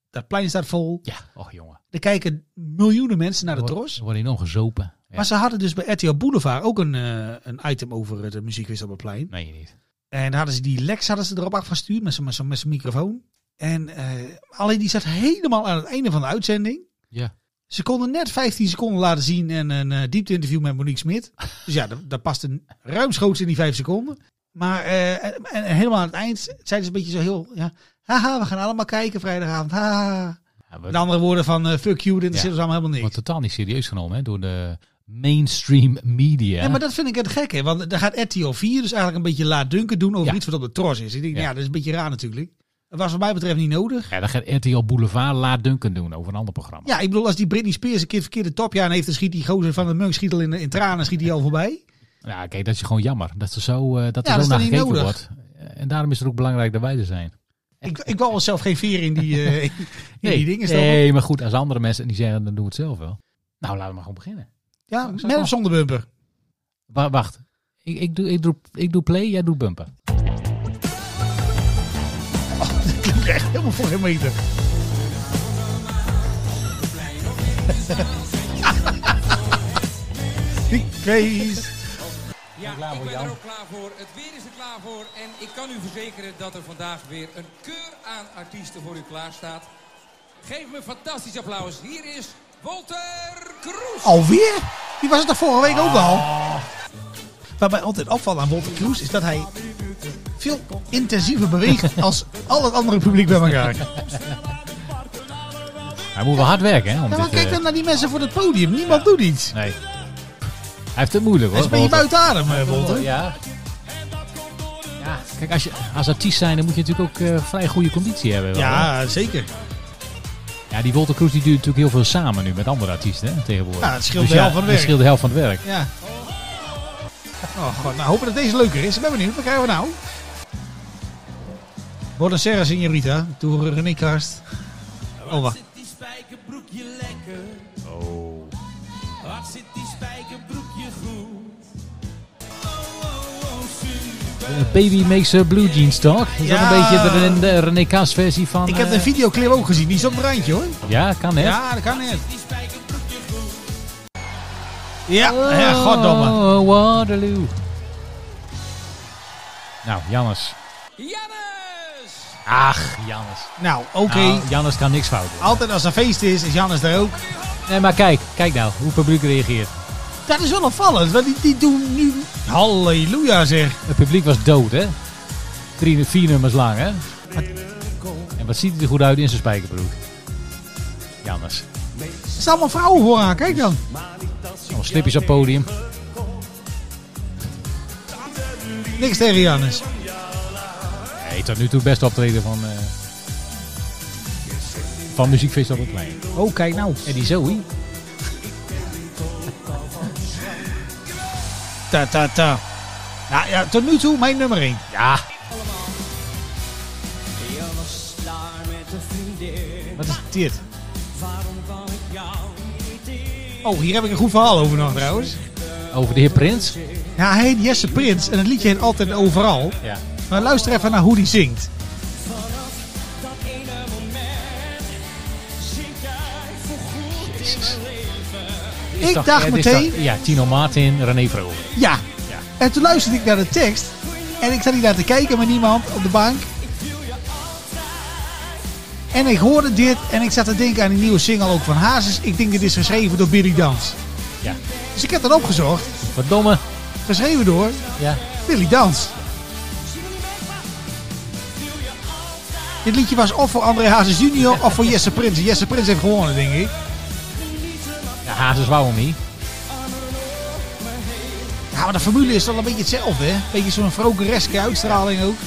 Dat plein staat vol.
Ja. Och jongen.
Er kijken miljoenen mensen naar de tros.
Er wordt enorm gezopen. Ja.
Maar ze hadden dus bij RTL Boulevard ook een, eh, een item over het muziekquiz op het plein.
Nee, niet.
En daar hadden ze die Lex hadden ze erop afgestuurd met zo'n met zo'n- met zo'n microfoon. En eh, alleen die zat helemaal aan het einde van de uitzending.
Ja.
Ze konden net 15 seconden laten zien en een eh, diepte-interview met Monique Smit. Dus ja, dat, dat past een ruimschoots in die 5 seconden. Maar eh, en, en helemaal aan het eind zeiden ze een beetje zo heel... Ja, haha, we gaan allemaal kijken vrijdagavond. Haha.
Ja,
Met
we,
andere woorden van eh, fuck you, dit interesseert
Ja.
ons allemaal helemaal
wordt
niks.
totaal niet serieus genomen hè, door de mainstream media.
Nee, maar dat vind ik het gek, hè? Want dan gaat RTL 4 dus eigenlijk een beetje laatdunken doen over
Ja.
iets wat op de tros is. Ik denk,
Ja.
ja. dat is een beetje raar natuurlijk. Dat was wat mij betreft niet nodig.
Ja, dan gaat RTL Boulevard laat Duncan doen over een ander programma.
Ja, ik bedoel, als die Britney Spears een keer het verkeerde topje aan heeft, dan schiet die gozer van de munk schiet al in, in tranen, schiet die al voorbij.
Ja, kijk, dat is gewoon jammer. Dat er zo, eh, dat er
Ja, dat
zo naar
is dan niet
gekeken
nodig.
wordt. En daarom is het ook belangrijk dat wij er zijn.
Ik, ik wou wel zelf geen veer in die, eh, in die dingen stoppen.
nee, maar goed, als andere mensen het niet zeggen, dan doen we het zelf wel. Nou, laten we maar gewoon beginnen.
Ja, met
wel.
of zonder bumper.
Wa- wacht. Ik, ik, doe, ik, doe, ik doe play, jij doet bumper.
Dat klinkt echt helemaal voor een meter. Die craze.
Ja, ik ben er ook klaar voor. Het weer is er klaar voor. En ik kan u verzekeren dat er vandaag weer een keur aan artiesten voor u klaar staat. Geef me een fantastisch applaus. Hier is Walter Kroes.
Alweer? Die was het er vorige week ook al. Wat mij altijd opvalt aan Walter Kroes is dat hij veel intensiever beweegt als al het andere publiek bij elkaar.
Hij moet wel hard werken, hè? Om
Ja,
dit,
maar kijk
eh,
dan naar die mensen voor het podium. Niemand doet iets.
Nee. Hij heeft het moeilijk,
Hij
hoor.
is ben je
Walter.
buiten adem, eh, Walter.
Ja. Ja, kijk, als je als artiest zijn, dan moet je natuurlijk ook eh, vrij goede conditie hebben. wel, hè?
Ja, zeker.
ja, die Wolter Kroes die doet natuurlijk heel veel samen nu met andere artiesten hè, tegenwoordig. Dus
Ja, het scheelt de helft van het
dat
werk.
scheelt de helft van het werk.
Ja. Oh god, nou hopen dat deze leuker is. Ik ben benieuwd, wat krijgen we nou? Buonasera, signorita. Door René Karst. Oh, wacht.
Zit die spijkerbroekje lekker? Oh. Wat zit die spijkerbroekje goed? Oh, oh, oh, super.
Eh, Baby makes a blue jeans talk. Is
Ja.
dat een beetje de, Ren- de René Kaas versie van...
Ik heb
eh,
de videoclip ook gezien, die is op het randje hoor.
Ja, kan hè?
Ja, dat kan net.
Die spijkerbroekje goed.
Ja, ja goddomme.
Oh, Waterloo. Nou, Jannes.
Jannes!
Ach, Jannes.
Nou, oké.
Nou, Jannes kan niks fout doen.
Altijd als er feest is, is Jannes daar ook.
Nee, maar kijk. Kijk nou, hoe het publiek reageert.
Dat is wel opvallend, want die, die doen nu... Halleluja zeg.
Het publiek was dood, hè? Drie, vier nummers lang, hè? En wat ziet hij er goed uit in zijn spijkerbroek? Jannes.
Er staan allemaal vrouwen vooraan, kijk dan.
Nog slipjes op podium.
Niks tegen Jannes.
Nee, tot nu toe best optreden van... eh van muziekfeest op het plein.
Oh, kijk nou.
En die Zoe.
Ta ta ta. Nou ja, tot nu toe mijn nummer 1.
Ja.
Jongens, daar met de vriendin.
Wat is dit?
Waarom kan ik jou niet in?
Oh, hier heb ik een goed verhaal over nog trouwens.
Over de heer Prins.
Ja, hij heet Jesse Prins en het liedje heet altijd en overal.
Ja.
Maar luister even naar hoe die zingt.
Dat ene moment zit jij voorgoed
Jezus.
in mijn leven.
Is
Ik
toch-
dacht
eh, dit is
meteen-
toch- ja, Tino Martin, René Vroger.
Ja. En toen luisterde ik naar de tekst. En ik zat hier naar te kijken met niemand op de bank. En ik hoorde dit en ik zat te denken aan die nieuwe single ook van Hazes. Ik denk dit is geschreven door Billy Dans.
Ja.
Dus ik heb dat opgezocht.
Verdomme.
Geschreven door
Ja.
Billy Dans. Dit liedje was of voor André Hazes junior of voor Jesse Prins. Jesse Prins heeft gewonnen, denk ik.
ja Hazes wou hem niet.
Ja, maar de formule is wel een beetje hetzelfde, hè? Een beetje zo'n vrokereske uitstraling ook.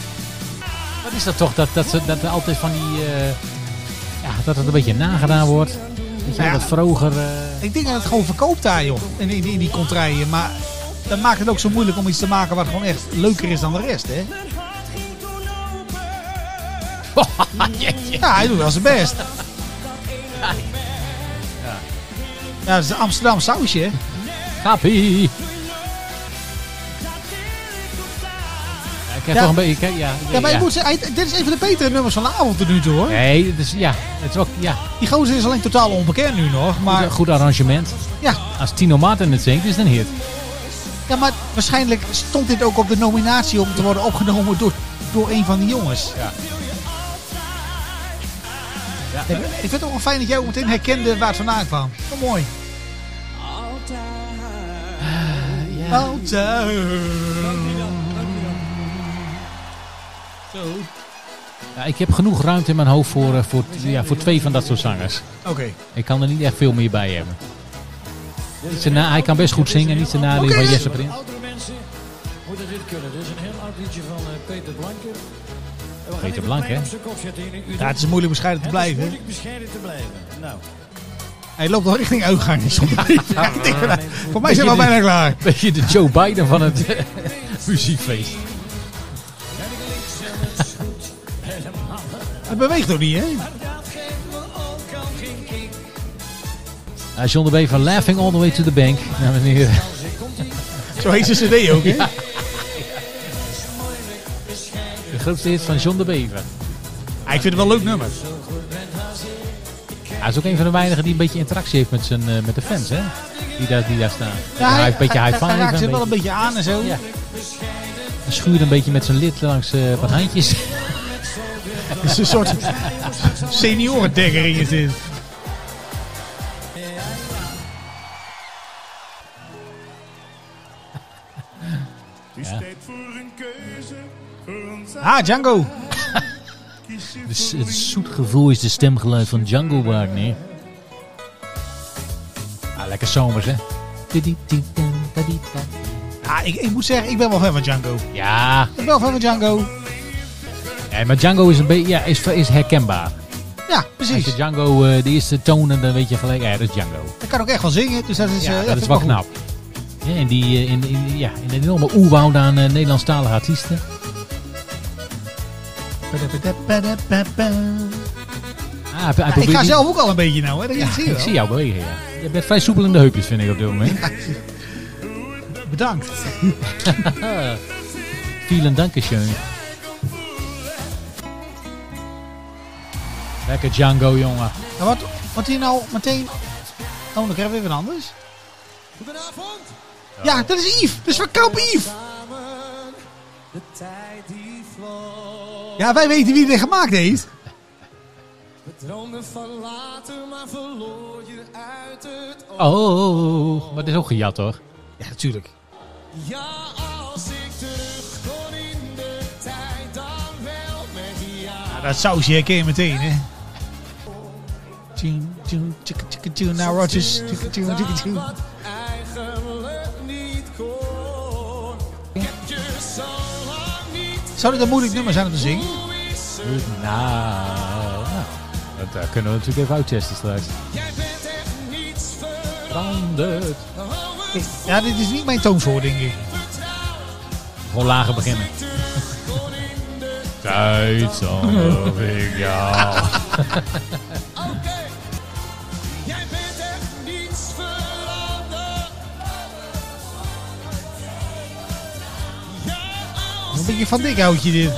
Wat is dat toch? Dat, dat, ze, dat er altijd van die... eh, ja, dat het een beetje nagedaan wordt. Weet je, wel,
Ja.
dat Vroger... eh,
Ik denk dat het gewoon verkoopt daar, joh. In, in, in die contraien. Maar dat maakt het ook zo moeilijk om iets te maken wat gewoon echt leuker is dan de rest, hè?
Mijn hart ging toen open.
Ja, hij doet wel zijn best. Ja, dat is een Amsterdam sausje, hè?
Happy. Ja, ik heb
Ja.
toch een beetje... Kijk, ja,
Ja, maar je moet zeggen, hij- dit is een van de betere nummers van de avond tot nu toe, hoor.
Nee, het is, ja, het is ook ja,
Die gozer is alleen totaal onbekend nu nog, maar...
goed, goed arrangement.
Ja,
Als Tino Martin het zingt, is het een hit.
ja, maar waarschijnlijk stond dit ook op de nominatie om te worden opgenomen door, door een van die jongens.
Ja.
Ik vind- Ik vind het ook wel fijn dat jij ook meteen herkende waar het vandaan kwam. Wat mooi.
Ah,
Altijd.
Ja, ik heb genoeg ruimte in mijn hoofd voor, eh, voor, ja, voor twee van dat soort zangers.
Oké.
Ik kan er niet echt veel meer bij hebben. Niet te na- hij kan best goed zingen, niet te nadeel
Oké.
van Jesse Prins.
dus Oudere mensen moeten dit kunnen. Dit is een heel oud liedje van eh, Peter Blanke. En we gaan
Peter
even
Blanke,
klein
hè?
op zijn kop zetten in een uur.
Ja, het is moeilijk bescheiden te
Het is
blijven.
moeilijk bescheiden te blijven. Nou,
Hij loopt al richting uitgang. is zo'n beetje. Ja, ik denk van, nou, Voor mij zijn we al bijna klaar.
Beetje de Joe Biden van het eh, muziekfeest.
Het beweegt ook niet, hè?
Ah, John de B van Laughing All The Way To The Bank. Nou, meneer.
Zo heet zijn cd ook, hè?
De grootste hit van John de Bever.
Ah, ik vind het wel een leuk nummer.
Hij is ook een van de weinigen die een beetje interactie heeft met, zijn, eh, met de fans, hè? Die daar, die daar staan. hij heeft een beetje high
Hij
five.
raakt ze wel
beetje-
een beetje aan en zo.
Ja. Hij schuurt een beetje met zijn lid langs eh, wat handjes.
Het is een soort seniorendekkering is dit.
Het is tijd voor een keuze. Voor ons
Ah, Django.
kies je
Het, is-
voor
Dus het zoetgevoeligste stemgeluid van Django Wagner. Ah, lekker zomers, hè?
Ah, ik, ik moet zeggen, ik ben wel fan van Django.
Ja,
Ik ben wel fan van Django.
nee, maar Django is, een beetje, ja, is, is herkenbaar.
Ja,
Als je
precies.
Django eh, de eerste tonen, dan weet je gelijk, ja, dat is Django.
Dat kan ook echt wel zingen, dus dat is,
Ja,
eh,
dat
vind
is
ik
wel
goed.
knap. Ja, en die eh, in, in, ja, in een enorme oerwoud aan eh, Nederlandstalige artiesten. Ah, hij
Ja, ik
probeert
ga
die-
zelf ook al een beetje nou, hè. Dat zie je
Ik
wel.
zie jou bewegen, ja. Je bent vrij soepel in de heupjes, vind ik op dit moment.
Bedankt.
Vielen dankeschön. Lekker Django, jongen.
Maar wat, wat hier nou meteen... Oh, dan krijgen we weer wat anders.
Goedenavond.
Ja, dat is Yves. Dat is van Kamp Yves.
Samen, de tijd die vloog.
Ja, wij weten wie dit gemaakt heeft.
We droomden van later, maar verloor je uit het oog.
Oh, maar dit is ook gejat, hoor.
Ja, natuurlijk.
Ja, als ik terug kon in de tijd, dan wel met jou.
Dat sausje herken je meteen, hè. Tune, tune, tjikke, tjikke, tune, now Rodgers. Tjikke, tune, tjikke,
Gedaan
tune.
Wat eigenlijk niet kon. Ik heb je zo lang niet.
Zou dit een moeilijk nummer zijn om te zingen?
Hoe is het?
Nou, nou, dat eh, kunnen we natuurlijk even uittesten straks.
Jij bent echt niets veranderd.
Veranderd.
Ik- Ja, dit is niet mijn toonsoort, denk ik.
Gewoon lager beginnen. Tijd zonder oh, ik jou.
Oké. Jij bent echt niets veranderd.
Een beetje van dik houtje dit.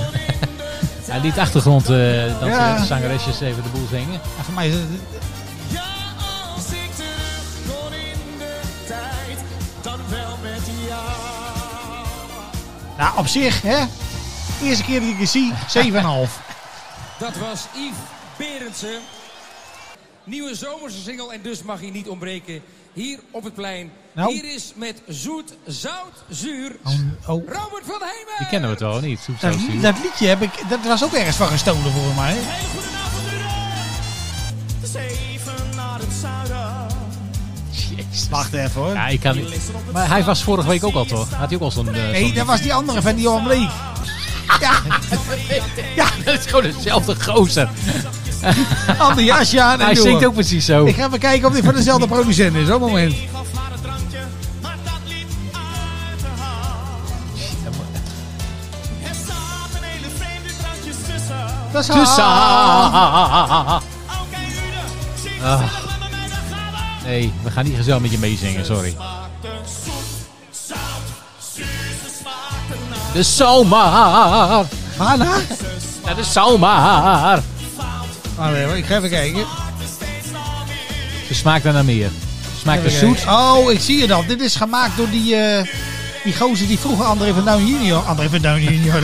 Ja, liet achtergrond eh dat
Ja.
de zangeresjes even de boel zingen.
Ja, voor mij is het...
Ja, als ik terug kon in de tijd, dan wel met jou.
Nou, op zich, hè. Eerste keer dat ik het zie, 7,5.
Dat was Yves Berendsen. Nieuwe zomerse single en dus mag hij niet ontbreken. Hier op het plein.
Nou.
Hier is met zoet, zout, zuur
Nou.
Oh.
Robert van Heemen.
Die kennen we toch niet? Soep,
Dat,
zout, zuur.
dat liedje heb ik, dat was ook ergens van gestolen voor mij.
Hey, goedenavond, iedereen. Het is even naar het zuiden.
Wacht even hoor.
Ja, ik kan niet. Maar hij was vorige week ook al toch? Had hij ook al zo'n. eh,
Nee,
zo'n-
dat was die andere van die Johan Bleek.
dat is gewoon dezelfde gozer.
Ander jasje aan en
Hij
door.
zingt ook precies zo.
Ik ga even kijken of dit van dezelfde producent is. Op moment.
Gaf naar het drankje, maar dat liep uit de hand. Er zaten hele vreemde drankjes tussen.
Dat is
Dus, ah.
haar.
Oké, Rude, zie
Ah.
gezellig met me mee, dan gaan we.
Nee, we gaan niet gezellig met je meezingen, sorry.
Smaakte zoet, zout, zuur, ze smaakte naar
De zomaar.
Hanna?
Dat is zomaar.
Wacht even, ik ga even kijken.
Ze smaakt er naar meer. Smaakt er
Even
zoet.
kijken. Oh, ik zie je dat. Dit is gemaakt door die, eh, die gozer die vroeger André van Duin junior... André van Duin junior.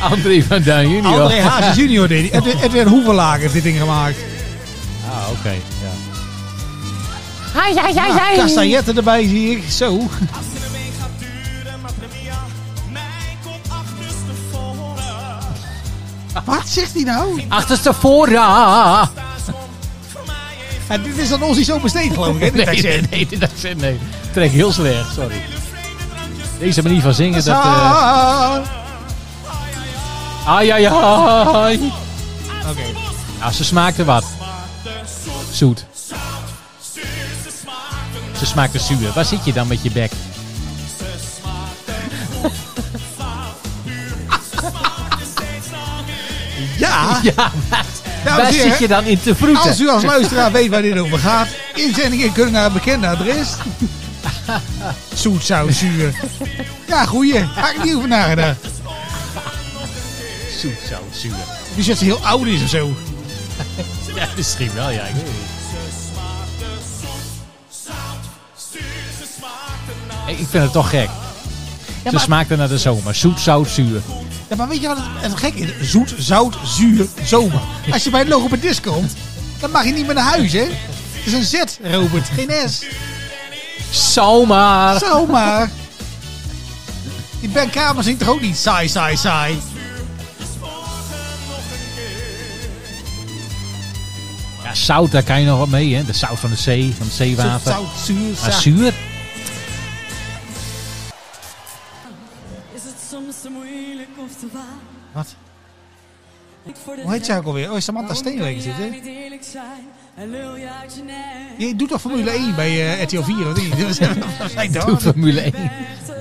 André van Duin junior.
André Hazes junior deed die. Edwin, Edwin Hoevelaak heeft dit ding gemaakt.
Ah, oké. ja.
Ah, Castagnetten erbij zie ik. Zo.
Als het er mee gaat duren, maar premia, mij komt achterstevoren.
Wat zegt hij nou?
Achterstevoren.
Voor mij heeft
Ja, dit is dan ons niet zo besteed geloof ik. Hè? dit
Nee, nee,
accent.
nee, dit accent, nee. Trek heel slecht, sorry. Deze manier van zingen, dat... eh
Ah.
ai, ai, ai.
Oké.
Ja, ze smaakte wat. Zoet. Ze smaakte zuur. Waar zit je dan met je bek?
Ja,
Ja,
dames
waar
en heren,
zit je dan in te vroeten?
Als u als luisteraar weet waar dit over gaat, inzendingen kunnen naar een bekende adres. Zoet, zout, zuur. Ja, goeie. Ga ik niet eh, over nagedacht.
Zoet, zo zuur.
Nu zegt ze heel oud is of zo.
Ja, misschien wel, ja. Ik weet het niet. Ik- Ik vind het toch gek. ze smaakte naar de zomer. Zoet, zout, zuur.
Ja, maar weet je wat het, het gek is? Zoet, zout, zuur, zomer. Als je bij het logopedist komt, dan mag je niet meer naar huis, hè? Het is een Z, Robert, geen S.
Zomaar.
Zomaar. Die Ben Kamer zingt toch ook niet saai, saai, saai?
Ja, zout, daar kan je nog wat mee, hè? De zout van de zee, van het
Zoet,
zeewater.
zout, zuur,
Maar
saai.
Ah, zuur?
Is het soms zo moeilijk of te waar?
Wat?
Niet voor de
Hoe heet zij ook alweer? Oh, Samantha Steenwijk zit,
zitten.
hè?
niet eerlijk zijn en lul je uit je nek.
Je doet toch Formule 1 bij eh, RTL 4, of niet? Oh, Dat zijn
Doe
toch?
Formule 1.
Echt terug.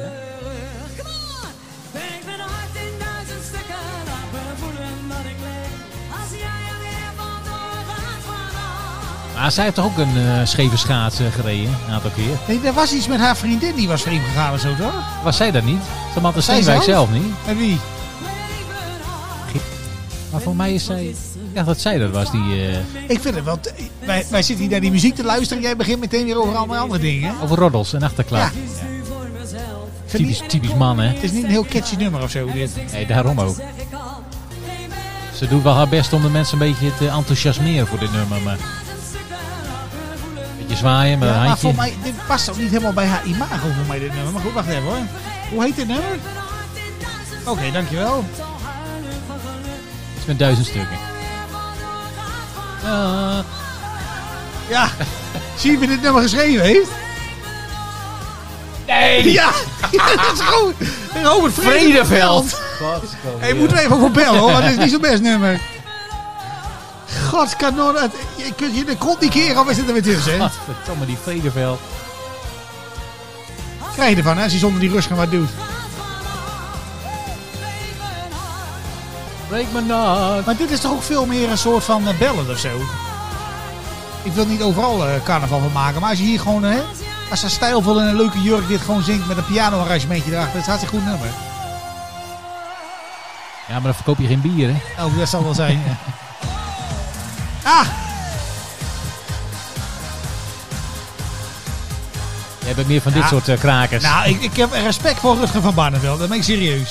Come on! Breek mijn hart in duizend stukken. Laat me voelen dat ik leef. Als jij er weer vandoor gaat vanaf.
Maar zij heeft toch ook een eh, scheve schaats eh, gereden, een aantal keer.
Nee, er was iets met haar vriendin die was vreemd gegaan of zo, toch?
Was zij dat niet? Samantha
Zij
Steenwijk zelf
zelf?
niet.
En wie?
Breek mijn hart.
Maar voor mij is zij... Ja, dat zij dat was, die... eh,
Ik vind het wel... t- Wij, wij zitten hier naar die muziek te luisteren. Jij begint meteen weer over allemaal andere dingen. hè?
over roddels en achterklaar.
Ja.
Kies nu voor mezelf.
Ik vind
Typisch,
niet-
typisch man, hè?
Het is niet een heel catchy nummer of zo, dit.
Nee, daarom ook.
Zeg ik al. Hey, ben
Ze doet wel haar best om de mensen een beetje te enthousiasmeren voor dit nummer. Maar een
duizend stukken. Laat me voelen.
beetje zwaaien met
Ja,
een
maar
handje.
voor mij, dit past ook niet helemaal bij haar imago voor mij, dit nummer. Maar goed, wacht even hoor. Hoe heet dit nummer? Oké, dankjewel.
Iets met duizend stukken. Ah,
Ja, zie je wie dit nummer geschreven heeft? Nee! Ja, ja, dat is goed. Robert Vredeveld. Hey, moeten we even over bellen hoor, want dit is niet zo'n best nummer. Godskanon, het- je kunt je de kont niet keren of is het er weer tussen? hè?
Godverdomme, die Vredeveld.
Krijg je ervan hè, als je zonder die rust gaan wat doet.
Breek me not.
Maar dit is toch ook veel meer een soort van eh, ballad of zo? Ik wil niet overal eh, carnaval van maken, maar als je hier gewoon, hè, als ze stijlvol in een leuke jurk dit gewoon zingt met een piano-arrangementje erachter, dat is hartstikke goed nummer.
Ja, maar dan verkoop je geen bier, hè?
Oh, dat zal wel zijn. ja. Ah,
Jij bent meer van dit
Ja.
soort eh, krakers.
nou, ik, ik heb respect voor Rutger van Barneveld, dat ben ik serieus.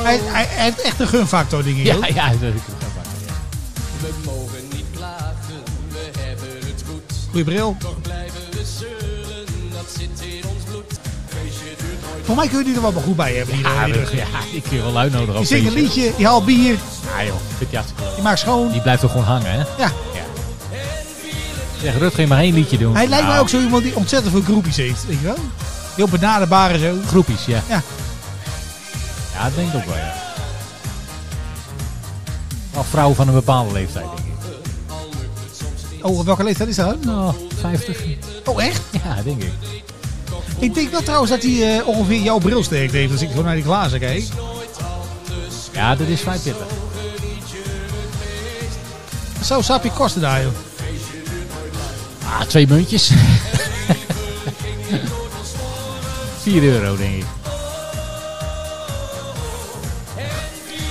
Hij, hij, hij heeft echt een gunfactor, denk ik.
ja,
hoor.
ja. dat-
We mogen niet klagen, we hebben het goed.
Goeie bril.
Toch blijven we zeuren, dat zit in ons bloed. Feestje duurt nooit.
Voor mij kun je die er wel maar goed bij hebben. Die, eh,
Ja,
die
dat-
Ah, Rutger.
ja, ik kun je wel lui nodig
Die
op
zingt een
deze.
liedje, die haalt bier,
Ja, joh. Vind je hartstikke leuk.
die maakt schoon.
Die blijft toch gewoon hangen, hè?
Ja.
Zeg, Rutger, maar één liedje doen.
Hij lijkt mij
Nou,
ook zo iemand die ontzettend veel groepjes heeft, weet je wel? Heel benaderbaar en zo.
Groepies, ja.
Ja.
Ja, dat denk ik ook wel, ja. Wel vrouwen van een bepaalde leeftijd, denk ik.
Oh, op welke leeftijd is dat?
Nou, 50.
Oh, echt?
Ja, denk ik.
Ik denk wel trouwens dat hij eh, ongeveer jouw bril steekt heeft als ik zo naar die glazen kijk.
Ja, dat is vrij pittig.
Zo sapje kosten daar, joh.
Ah, twee muntjes. 4 euro, denk ik.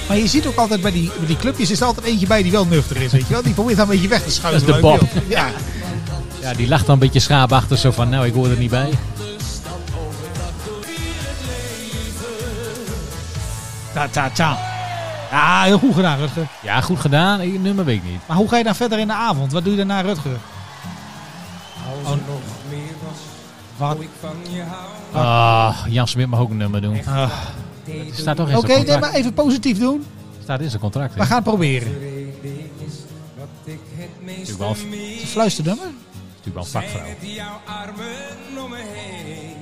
Maar je ziet ook altijd bij die, bij die clubjes is er altijd eentje bij die wel nuchter is, weet je wel? Die probeert dan een beetje weg te schuiven.
Dat is de
maar ik
Bob.
wil- Ja.
Ja, die lacht dan een beetje schaapachtig zo van, nou, ik hoor er niet bij.
Ta, ta, ta. Ja, heel goed gedaan, Rutger.
Ja, goed gedaan. Ik- nummer weet ik niet.
Maar hoe ga je dan verder in de avond? Wat doe je daarna, Rutger?
Als er nog meer was,
Wat?
hoe ik van je hou.
Ah, Jan Smit mag ook een nummer doen.
Ah.
Het staat toch in
Oké,
zijn
nee,
contract.
maar even positief doen.
staat in zijn contract, hè?
We gaan het proberen.
De reden is dat ik het meest
Natuurlijk wel-
mis.
Fluisternummer?
Natuurlijk wel een vakvrouw.
Zijn het jouw armen om me heen?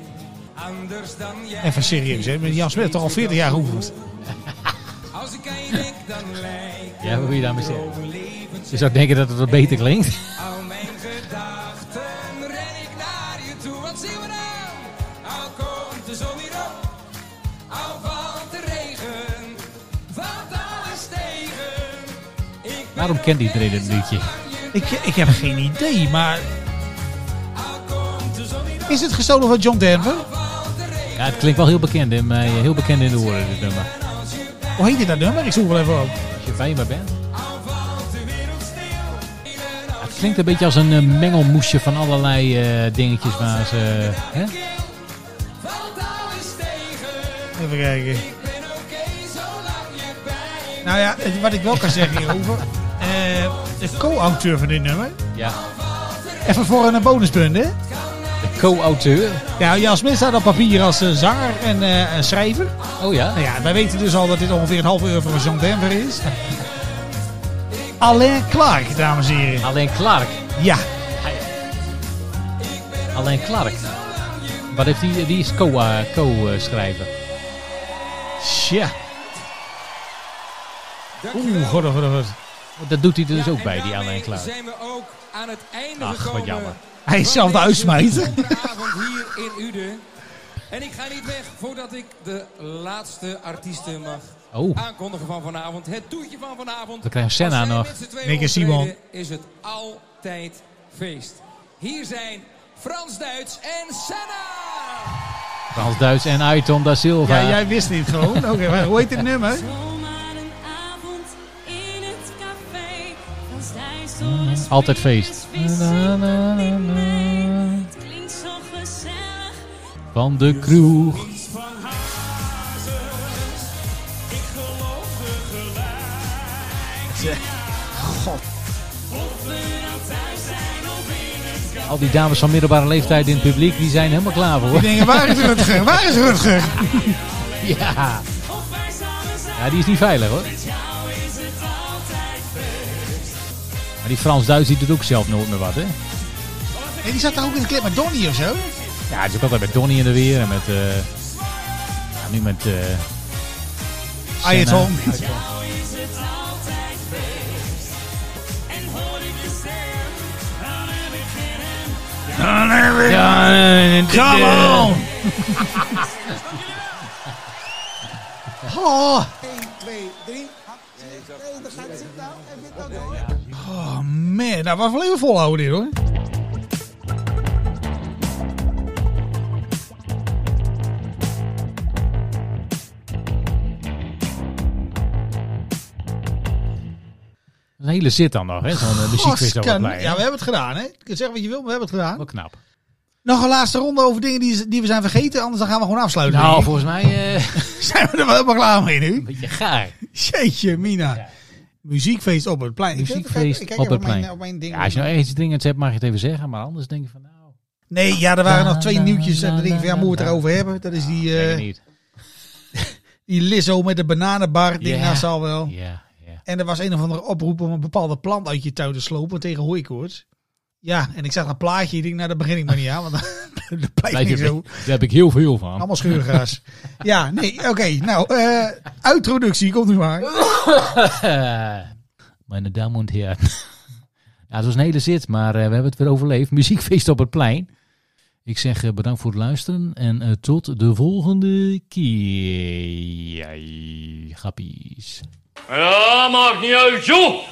Anders dan jij.
Even serieus, hè? Met Jan Smit toch al 40 jaar geoefend.
Als ik aan je denk, dan lijkt
Ja, wat wil je daarmee zeggen?
mijn leven
Je zou denken dat het wat beter klinkt.
Al mijn gedachten ren ik naar je toe. Wat zien we nou? Al komt de zon hier op, al valt de regen, valt alles tegen. Ik ben
Waarom kent iedereen dit liedje?
Ik, ik heb geen idee, maar... Is het gestolen van John Denver?
Ja, het klinkt wel heel bekend in mij. Heel bekend in de oren, dit nummer.
Hoe heet dit dat nummer? Ik zoek wel even op.
Als je bij me bent. Ja, Het klinkt een beetje als een eh, mengelmoesje van allerlei eh, dingetjes waar ze... eh, hè?
valt alles tegen.
Even kijken. Nou ja, het- wat ik wel kan zeggen hierover. eh, de co-auteur van dit nummer.
Ja,
Even voor een bonuspunt, hè?
de co-auteur.
Ja, Jan Smit staat op papier als eh, zanger en eh, en schrijver.
Oh ja.
Nou ja, wij weten dus al dat dit ongeveer een half uur voor Jean Denver is. Alain Clark, dames en heren.
Alleen Clark.
Ja,
Alleen Clark. Wat heeft die? Die is co- eh, co-schrijver.
tja. Oeh, god, oh, god, god.
dat doet hij er dus ook
en
bij, die
daarmee
Alain Clark.
zijn we ook aan het einde
Ach, wat
gekomen.
jammer.
Hij is zelf de
van deze
uitsmijter.
Vanavond hier in Uden. En ik ga niet weg voordat ik de laatste artiesten mag
Oh,
aankondigen van vanavond. Het toetje van vanavond.
We krijgen Senna
Als zij
nog.
met z'n tweeën
Nick en
optreden,
Simon.
Is het altijd feest. Hier zijn Frans Duits en Senna.
Frans Duits en Aiton da Silva.
Ja, jij wist niet gewoon. Oké, maar hoe heet dit nummer?
Zomaar een avond in het café. Dan zij door de
Altijd feest.
spelers vissen tot niet mee. Het klinkt zo gezellig.
Van de kroeg.
Iets van hazes, ik geloof de gelijk.
Al die dames van middelbare leeftijd in het publiek, die zijn helemaal klaar
Ik
voor.
denk, waar is Rutger? Waar is Rutger?
Ja.
Of wij samen zijn.
ja, die is niet veilig hoor.
jou is het altijd
Maar die Frans Duits die doet ook zelf nooit meer wat hè.
Ja, die zat daar ook in de clip met Donnie of zo.
Ja, het is ook altijd met Donnie in de weer en met... eh, ja, nu met... eh
Ayatollah. Come on! Oh. Oh man, nou wat wil even volhouden dit hoor.
Een hele zit dan nog hè, zo'n eh, muziekquiz
Gast,
over
kan- Ja,
blij.
we hebben het gedaan hè. Je kunt zeggen wat je wil, maar we hebben het gedaan.
Wel knap.
Nog een laatste ronde over dingen die, die we zijn vergeten, anders dan gaan we gewoon afsluiten.
Nou,
denk ik.
volgens mij eh
zijn we er wel helemaal klaar mee nu.
een beetje gaar.
Jeetje, Mina. Muziekfeest op het plein. Ik kijk-
Muziekfeest
ik kijk
op
even
het
mijn-
plein.
op mijn ding.
Ja, als je nou ergens iets dringends hebt, mag je het even zeggen. Maar anders denk je van nou...
Nee, ja, er waren
Na,
nog twee
na,
nieuwtjes. En
na,
dan denk ik van, ja,
na,
moeten
na.
we het erover hebben? Dat is die,
Denk
eh,
het niet.
die Lizzo met de bananenbar. Ik Denk,
Ja.
nou, zal wel.
Ja, ja.
En er was een of andere oproep om een bepaalde plant uit je tuin te slopen tegen hooikoorts. Ja, en ik zag een plaatje. Ik denk, nou, daar begin ik maar niet aan. Want dat blijft, niet
Blijf je-
zo.
Daar heb ik heel veel van.
Allemaal scheurgras. ja, nee, oké. nou, eh uitroductie, komt nu maar.
Eh, Mijn dames en heren. Ja, het was een hele zit, maar eh, we hebben het weer overleefd. Muziekfeest op het plein. Ik zeg eh, bedankt voor het luisteren en eh, tot de volgende keer. Jij, grappies.
Ja, maakt niet uit, joh!